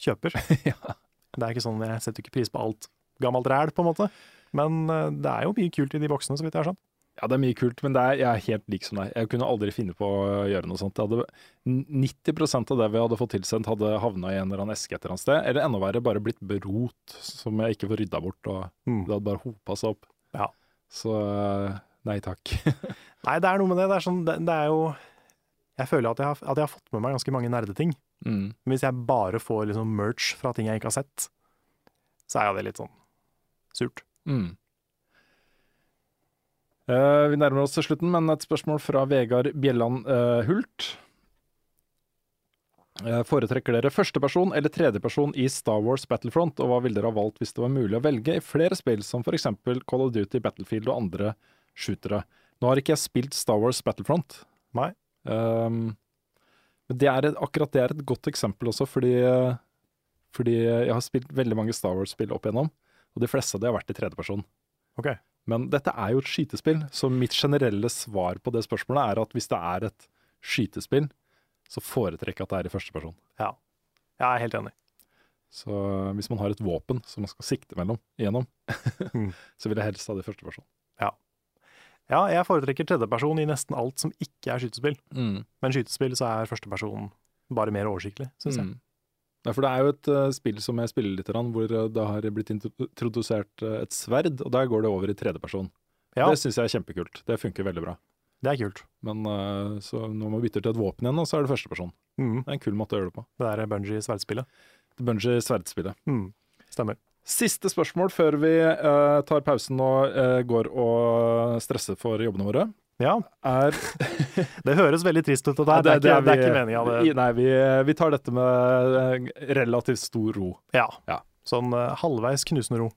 kjøper. Ja. Det er ikke sånn, jeg setter ikke pris på alt gammelt ræl, på en måte. Men eh, det er jo mye kult i de boksene, så vidt jeg har skjønt. Ja, det er mye kult, men det er, jeg er helt lik som deg. Jeg kunne aldri finne på å gjøre noe sånt. Jeg Hadde, 90 av det vi hadde fått tilsendt, hadde havna i en eller annen eske et eller annet sted. Eller enda verre, bare blitt berot, som jeg ikke får rydda bort. Og Mm. det hadde bare hopa seg opp. Ja. Så eh, nei takk. Nei, det er noe med det. Det er, sånn, det, det er jo Jeg føler at jeg, har, at jeg har fått med meg ganske mange nerdeting. Mm. Men hvis jeg bare får liksom merch fra ting jeg ikke har sett, så er jo det litt sånn surt. Mm. Eh, vi nærmer oss til slutten, men et spørsmål fra Vegard Bjelland eh, Hult. Eh, foretrekker dere førsteperson eller tredjeperson i Star Wars Battlefront, og hva ville dere ha valgt hvis det var mulig å velge i flere spill, som f.eks. Call of Duty, Battlefield og andre shootere? Nå har ikke jeg spilt Star Wars Battlefront. Nei. Ehm, men det er et, akkurat det er et godt eksempel også, fordi, eh, fordi jeg har spilt veldig mange Star Wars-spill opp igjennom. Og de fleste av de har vært i tredjeperson. Ok. Men dette er jo et skytespill, så mitt generelle svar på det spørsmålet er at hvis det er et skytespill, så foretrekker jeg at det er i førsteperson. Jeg er helt enig. Så hvis man har et våpen som man skal sikte mellom, gjennom, Mm. så vil jeg helst ha det i førsteperson. Ja, jeg foretrekker tredjeperson i nesten alt som ikke er skytespill. Men skytespill så er førsteperson bare mer oversiktlig, syns jeg. Mm. Ja, for det er jo et eh, spill som jeg spiller litt, grann, hvor eh, det har blitt intro- introdusert eh, et sverd, og der går det over i tredjeperson. Ja. Det syns jeg er kjempekult. Det funker veldig bra. Det er kult. Men eh, så når man bytter til et våpen igjen, nå, så er det førsteperson. Mm. Det er en kul måte å gjøre det på. Det der Bungee-sverdspillet. Bungie sverdspillet. Mm. Stemmer. Siste spørsmål før vi eh, tar pausen og eh, går og stresser for jobbene våre. Ja, Er, det høres veldig trist ut, og det, er- det, er, ikke, det er ikke meninga, det. i- Nei, vi, eh, vi tar dette med eh, relativt stor ro. Ja. Ja. Sånn eh, halvveis knusende ro.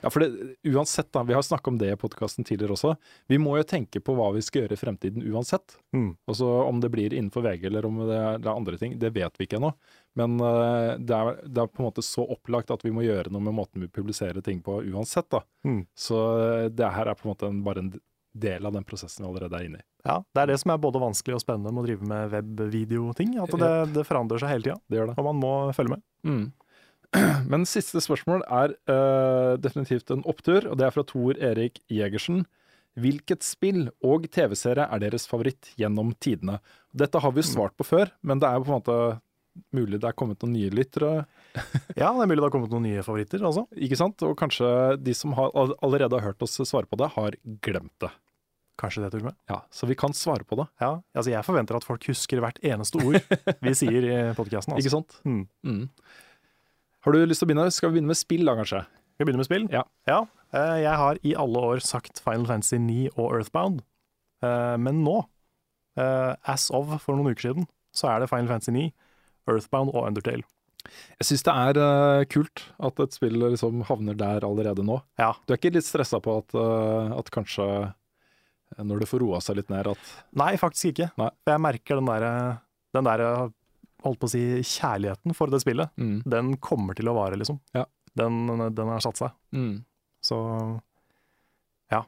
Ja, for det, uansett da, Vi har snakka om det i podkasten tidligere også. Vi må jo tenke på hva vi skal gjøre i fremtiden uansett. Mm. Og så Altså, Om det blir innenfor VG eller om det er, det er andre ting, det vet vi ikke ennå. Men eh, det, er, det er på en måte så opplagt at vi må gjøre noe med måten vi publiserer ting på uansett. da. Mm. Så eh, det her er på en måte en, bare en del av den prosessen vi allerede er inne i. Ja, Det er det som er både vanskelig og spennende med å drive med web-videoting. At det, det forandrer seg hele tida, Det gjør det. og man må følge med. Mm. Men siste spørsmål er eh, definitivt en opptur, og det er fra Tor Erik Jegersen. Hvilket spill og TV-serie er deres favoritt gjennom tidene? Dette har vi jo svart på før, men det er jo på en måte mulig det er kommet noen nye lyttere, Ja, det er mulig det har kommet noen nye favoritter, altså. ikke sant? Og kanskje de som har, all- allerede har hørt oss svare på det, har glemt det. Kanskje det, til og med. Ja, Så vi kan svare på det, Ja, altså Jeg forventer at folk husker hvert eneste ord vi sier i podkasten. Altså. ikke sant? Mm. Mm. Har du lyst til å begynne? Skal vi begynne med spill da, kanskje? Skal vi begynne med spill? Ja. Eh, Jeg har i alle år sagt Final Fantasy 9 og Earthbound, Eh, men nå, eh, as of for noen uker siden, så er det Final Fantasy 9, Earthbound og Undertale. Jeg syns det er eh, kult at et spill liksom havner der allerede nå. Ja. Du er ikke litt stressa på at, eh, at kanskje eh, når det får roa seg litt ned, at Nei, faktisk ikke. Nei. For jeg merker den der, den der holdt på å si, kjærligheten for det spillet. mm, Den kommer til å vare, liksom. Ja. Den, den har satt seg. mm. Så ja.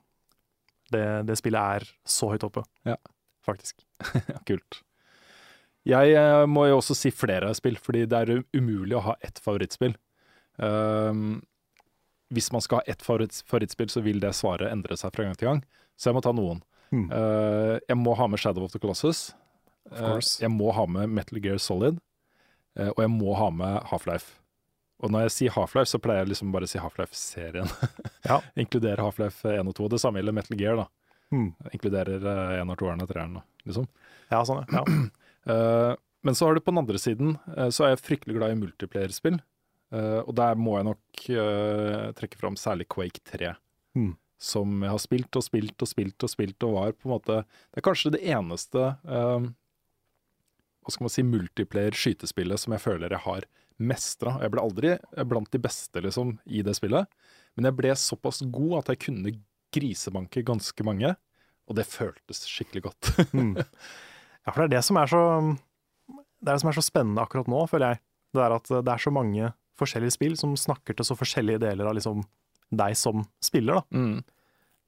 Det, det spillet er så høyt oppe, Ja. faktisk. ja, Kult. Jeg eh, må jo også si flere spill, fordi det er u- umulig å ha ett favorittspill. Ehm, hvis man skal ha ett favoritts- favorittspill, så vil det svaret endre seg fra gang til gang. Så jeg må ta noen. Mm. Eh, jeg må ha med Shadow of the Colossus. Of course. Eh, jeg må ha med Metal Gear Solid. Eh, og jeg må ha med Half-Life. Og når jeg sier Half-Life, så pleier jeg liksom bare å si Half-Life-serien. Ja. Inkluderer Half-Life 1 og 2. Det samme gjelder Metal Gear. da. Mm. Inkluderer eh, 1 og 2-eren og 3-eren. da, Liksom. Ja, sånn, ja. ja. Eh, men så har du på den andre siden, eh, så er jeg fryktelig glad i multiplayerspill. Eh, og der må jeg nok eh, trekke fram særlig Quake 3. Mm. Som jeg har spilt og spilt og spilt og spilt og var på en måte Det er kanskje det eneste eh, hva skal man si, multiplayer-skytespillet som jeg føler jeg har mestra. Jeg ble aldri eh, blant de beste liksom, i det spillet, men jeg ble såpass god at jeg kunne grisebanke ganske mange. Og det føltes skikkelig godt. Mm. ja, for det er det som er så Det er det som er så spennende akkurat nå, føler jeg. Det er at eh, det er så mange forskjellige spill som snakker til så forskjellige deler av liksom deg som spiller, da.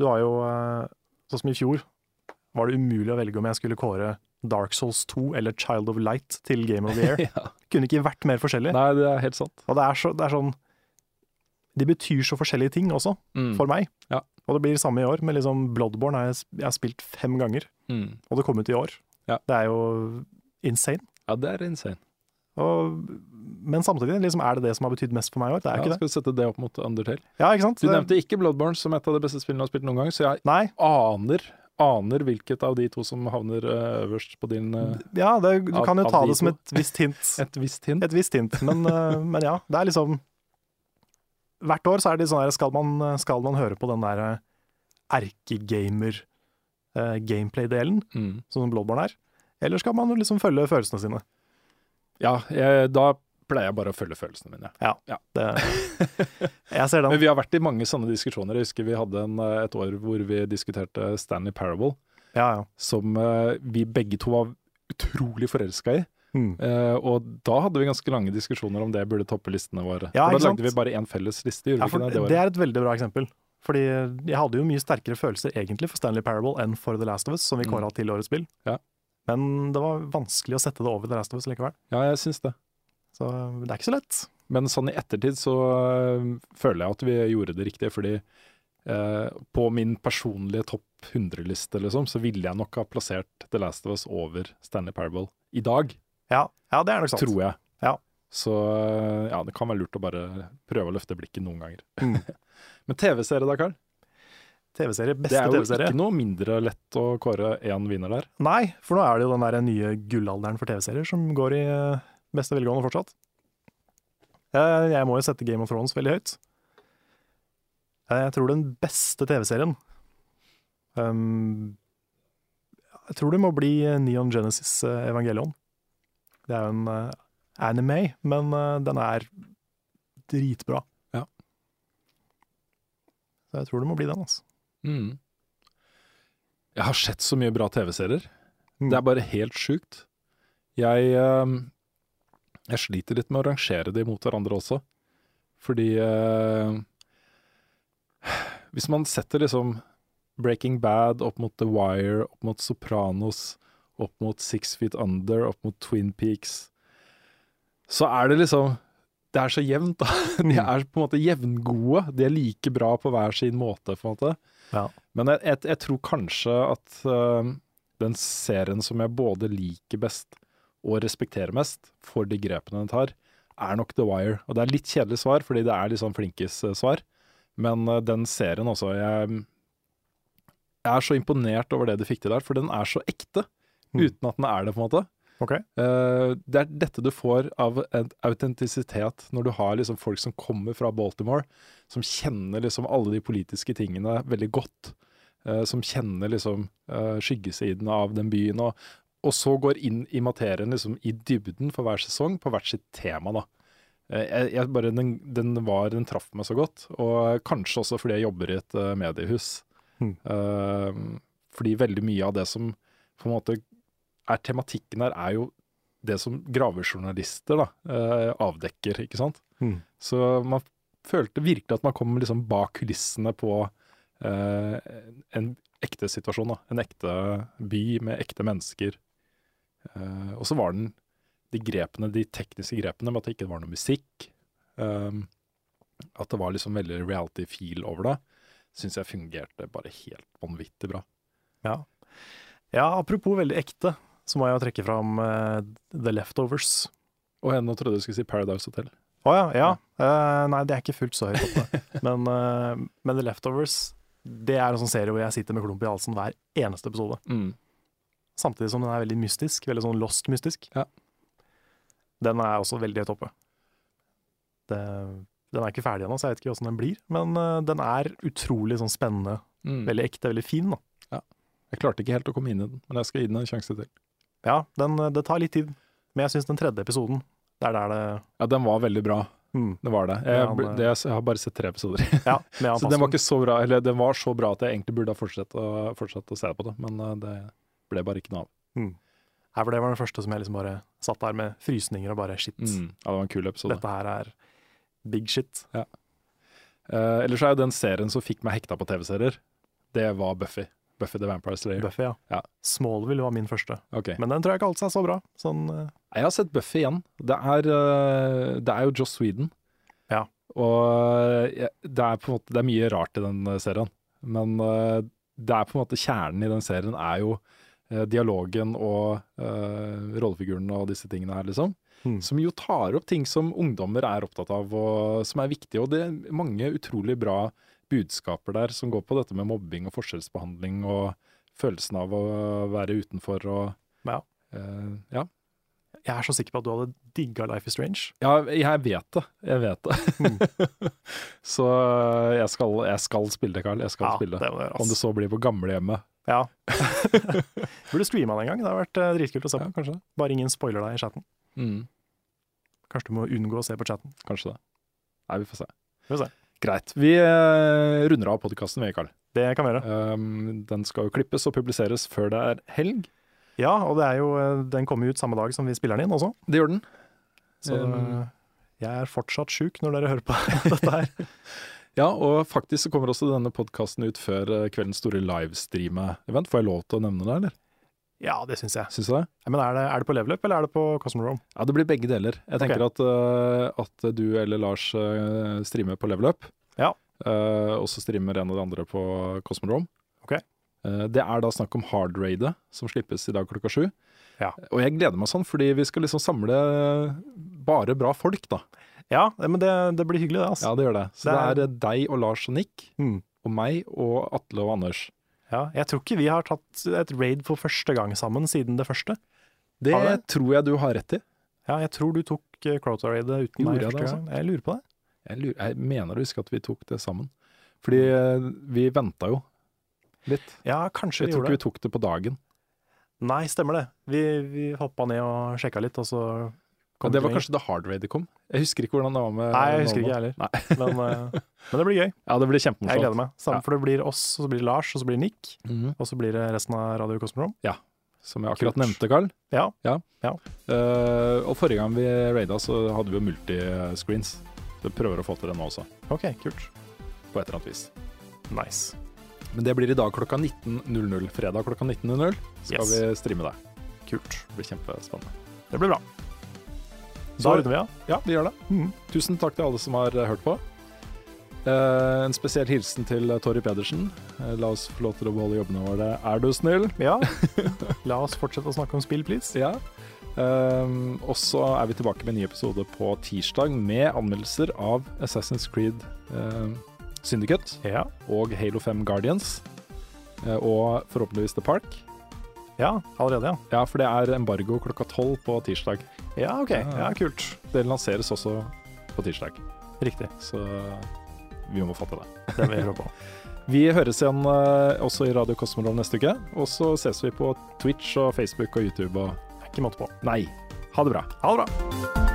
Du har jo, eh, sånn som i fjor, var det umulig å velge om jeg skulle kåre Dark Souls 2 eller Child of Light til Game of the Year. ja. Kunne ikke vært mer forskjellig. Nei, det er helt sant. Og det er, så, det er sånn De betyr så forskjellige ting også, Mm. for meg. Ja. Og det blir samme i år, men liksom Bloodborne har jeg, sp- jeg har spilt fem ganger, Mm. og det kom ut i år. Ja. Det er jo insane. Ja, det er insane. Og, men samtidig, liksom, er det det som har betydd mest for meg i år? Det er jo ja, ikke det. Skal du sette det opp mot Undertale? Ja, ikke sant? Du Det- nevnte ikke Bloodborne som et av de beste spillene du har spilt noen gang, så jeg Nei. aner, aner hvilket av de to som havner eh, øverst på din eh, Ja, det, du Av- kan jo av ta de det som to. et visst hint. et visst hint. Et visst hint, men, eh, men ja. Det er liksom Hvert år så er det sånn her Skal man, skal man høre på den der eh, erkegamer-gameplay-delen, Mm. sånn som Bloodborne er? Eller skal man liksom følge følelsene sine? Ja, jeg, da pleier jeg bare å følge følelsene mine. Det, jeg ser Men den. vi har vært i mange sånne diskusjoner. Jeg husker vi hadde en, eh, et år hvor vi diskuterte Stanley Parable, Ja, ja. som eh, vi begge to var utrolig forelska i. Mm. Eh, og da hadde vi ganske lange diskusjoner om det burde toppe listene våre. Ja, for ikke da sant? lagde vi bare én felles liste, ja gjorde vi ikke for, det? Det, det året? er et veldig bra eksempel. Fordi jeg hadde jo mye sterkere følelser egentlig for Stanley Parable enn for The Last of Us, som vi Mm. kåra til årets spill. Ja. Men det var vanskelig å sette det over The Last of Us likevel. Ja, jeg syns det. Så det er ikke så lett. Men sånn i ettertid så øh, føler jeg at vi gjorde det riktig, fordi øh, på min personlige topp 100-liste, liksom, så ville jeg nok ha plassert The Last of Us over Stanley Parable i dag, Ja, ja det er nok sant. tror jeg. Ja. Så øh, ja, det kan være lurt å bare prøve å løfte blikket noen ganger. Mm. Men TV-serie da, Karl? TV-serie, Det beste er jo TV-serie. ikke noe mindre lett å kåre én vinner der. Nei, for nå er det jo den der nye gullalderen for TV-serier som går i eh, beste velgående fortsatt. Eh, Jeg må jo sette Game of Thrones veldig høyt. Eh, Jeg tror den beste TV-serien ehm, Jeg tror det må bli eh, Neon Genesis eh, Evangelion. Det er jo en eh, anime, men eh, den er dritbra. Ja. Så jeg tror det må bli den, altså. Mm. Jeg har sett så mye bra TV-serier. Mm. Det er bare helt sjukt. Jeg, ehm, jeg sliter litt med å rangere de mot hverandre også. Fordi ehm, Hvis man setter liksom Breaking Bad opp mot The Wire, opp mot Sopranos, opp mot Six Feet Under, opp mot Twin Peaks, så er det liksom Det er så jevnt, da. De Mm. er på en måte jevngode. De er like bra på hver sin måte, på en måte. Ja. Men jeg, jeg, jeg tror kanskje at øhm, den serien som jeg både liker best og respekterer mest for de grepene den tar, er nok The Wire. Og det er litt kjedelig svar, fordi det er litt sånn flinkis eh, svar. Men eh, den serien også jeg, jeg er så imponert over det de fikk til der, for den er så ekte. Mm. Uten at den er det, på en måte. Ok. Eh, det er dette du får av en autentisitet når du har liksom folk som kommer fra Baltimore, som kjenner liksom alle de politiske tingene veldig godt. eh, som kjenner liksom eh, skyggesiden av den byen. Og, og så går inn i materien liksom i dybden for hver sesong på hvert sitt tema. da. Eh, jeg, jeg bare, den, den var, den traff meg så godt. Og kanskje også fordi jeg jobber i et eh, mediehus. Mm. Eh, fordi veldig mye av det som på en måte er tematikken her, er jo det som gravejournalister da, eh, avdekker, ikke sant? Mm. Så man følte virkelig at man kom liksom bak kulissene på eh, en ekte situasjon, da. en ekte by med ekte mennesker. Eh, og så var den de grepene, de tekniske grepene med at det ikke var noe musikk, ehm, at det var liksom veldig reality feel over det, syns jeg fungerte bare helt vanvittig bra. Ja, apropos veldig ekte, så må jeg jo trekke fram eh, The Leftovers. Og jeg nå trodde du skulle si Paradise Hotel. Å ja, ja. Eh, nei, det er ikke fullt så høyt oppe. men, eh, men The Leftovers, det er en sånn serie hvor jeg sitter med klump i halsen hver eneste episode. Samtidig som den er veldig mystisk, veldig sånn lost-mystisk. Ja. Den er også veldig høyt oppe. Det, den er ikke ferdig ennå, så jeg vet ikke åssen den blir. Men eh, den er utrolig sånn spennende, Veldig. veldig ekte, veldig fin. da. Jeg klarte ikke helt å komme inn i den, men jeg skal gi den en sjanse til. Ja, den, eh, det tar litt tid, men jeg syns den tredje episoden, det er der det Ja, den var veldig bra. mm, Det var det. Jeg, Ja, men- det, jeg har bare sett tre episoder. Ja, sånn. med han Så den var pastoren. ikke så bra, eller den var så bra at jeg egentlig burde ha fortsatt å, fortsatt å se på det, men eh, det ble bare ikke noe av. Nei, for det var den første som jeg liksom bare satt der med frysninger og bare shit. Ja, det var en kul episode. Mm. Dette her er big shit. Eh, ellers er jo den serien som fikk meg hekta på TV-serier, det var Buffy. Buffy the Vampire Slayer. Buffy, ja. Ja. Smallville var min første, Ok. men den tror jeg ikke holdt seg så bra. Sånn, eh, Nei, Jeg har sett Buffy igjen. Det er, eh, det er jo Joss Sweden. Ja. Og eh, det er på en måte det er mye rart i den eh, serien. Men eh, det er på en måte kjernen i den serien er jo eh, dialogen og eh, rollefigurene og disse tingene her, liksom. Mm. Som jo tar opp ting som ungdommer er opptatt av, og som er viktige. Og det er mange utrolig bra budskaper der som går på dette med mobbing og forskjellsbehandling og følelsen av å være utenfor og Ja. Eh, ja. Jeg er så sikker på at du hadde digga Life is Strange. Ja, jeg vet det. Jeg vet det. Hmm. så eh, jeg skal, jeg skal spille det, Carl. Jeg skal Ja, spille det. det må du gjøre, Om det ass. så blir på gamlehjemmet. Ja. Burde streama den en gang. Det har vært eh, dritkult å se Ja, på. kanskje det. Bare ingen spoiler deg i chatten. Mm, Hmm. Kanskje du må unngå å se på chatten. kanskje det. Nei, vi får se. Vi får se. Greit. Vi eh, runder av podkasten, vi, Carl. Det kan vi gjøre. Um, den skal jo klippes og publiseres før det er helg. Ja, og det er jo, eh, den kommer jo ut samme dag som vi spiller den inn også. Det gjør den. Så eh, Um, jeg er fortsatt sjuk når dere hører på dette her. Ja, og faktisk så kommer også denne podkasten ut før eh, kveldens store livestream-event. Får jeg lov til å nevne det, eller? Ja, det syns jeg. Syns du det? Men er det, er det på level up, eller er det på Cosmodrome? Ja, det blir begge deler. Jeg tenker at, eh, at du eller Lars eh, streamer på Level Up. Ja. Eh, og så streamer en av de andre på Cosmodrome. Ok. Eh, det er da snakk om Hard Raidet, som slippes i dag klokka sju. Ja. Og jeg gleder meg sånn, fordi vi skal liksom samle bare bra folk, da. Ja, men det, det blir hyggelig, det. altså. Ja, det gjør det. Så det Det er, eh, deg og Lars og Nick, Mm. og meg og Atle og Anders. Ja, jeg tror ikke vi har tatt et raid for første gang sammen siden det første. Det Har det? tror jeg du har rett i. Ja, jeg tror du tok eh, Crota-raidet uten Gjorde meg jeg første det, altså? gang. Jeg lurer på det. Jeg, lurer, jeg mener å huske at vi tok det sammen. Fordi Mm. eh, vi venta jo litt. Ja, kanskje Jeg vi gjorde tror ikke det. vi tok det på dagen. Nei, stemmer det. Vi, vi hoppa ned og sjekka litt, og så kom det vi var ikke lenger. kanskje da Hard Raid kom. Jeg husker ikke hvordan det var med Nei, jeg husker ikke, navnet. jeg heller. Nei. Men, eh, men det blir gøy. Ja, det blir Jeg gleder kjempemorsomt. meg. Samme, Ja. For det blir oss, og så blir det Lars, og så blir det Nick, Mhm. og så blir det resten av Radio Cosmodrome. Som jeg akkurat Kult. nevnte, Carl. Ja. Eh, og forrige gang vi raida, så hadde vi jo multiscreens. Så jeg prøver å få til det nå også, OK, kult. på et eller annet vis. Nice. Men det blir i dag klokka 19.00. Fredag klokka 19.00 skal Yes. vi streame det. Kult. Det blir kjempespennende. Det blir bra. Så- Da runder vi av. Ja, vi gjør det. Mhm. Tusen takk til alle som har eh, hørt på. Eh, en spesiell hilsen til eh, Torry Pedersen. Eh, la oss få lov til å beholde jobbene våre, er du snill? Ja. La oss fortsette å snakke om spill, please. Ja. Ehm, og så er vi tilbake med en ny episode på tirsdag med anmeldelser av Assassin's Creed ehm, Syndicate Ja. og Halo 5 Guardians. eh, og forhåpentligvis The Park. ja allerede, ja. Ja, for det er embargo klokka tolv på tirsdag. Ja, OK. Ja, kult. Det lanseres også på tirsdag, Riktig. så vi må fatte det. Det vil jeg høre på. Vi høres igjen eh, også i Radio Kosmodrome neste uke. Og så ses vi på Twitch og Facebook og YouTube og Det er ikke måte på. Nei, ha det bra. Ha det bra.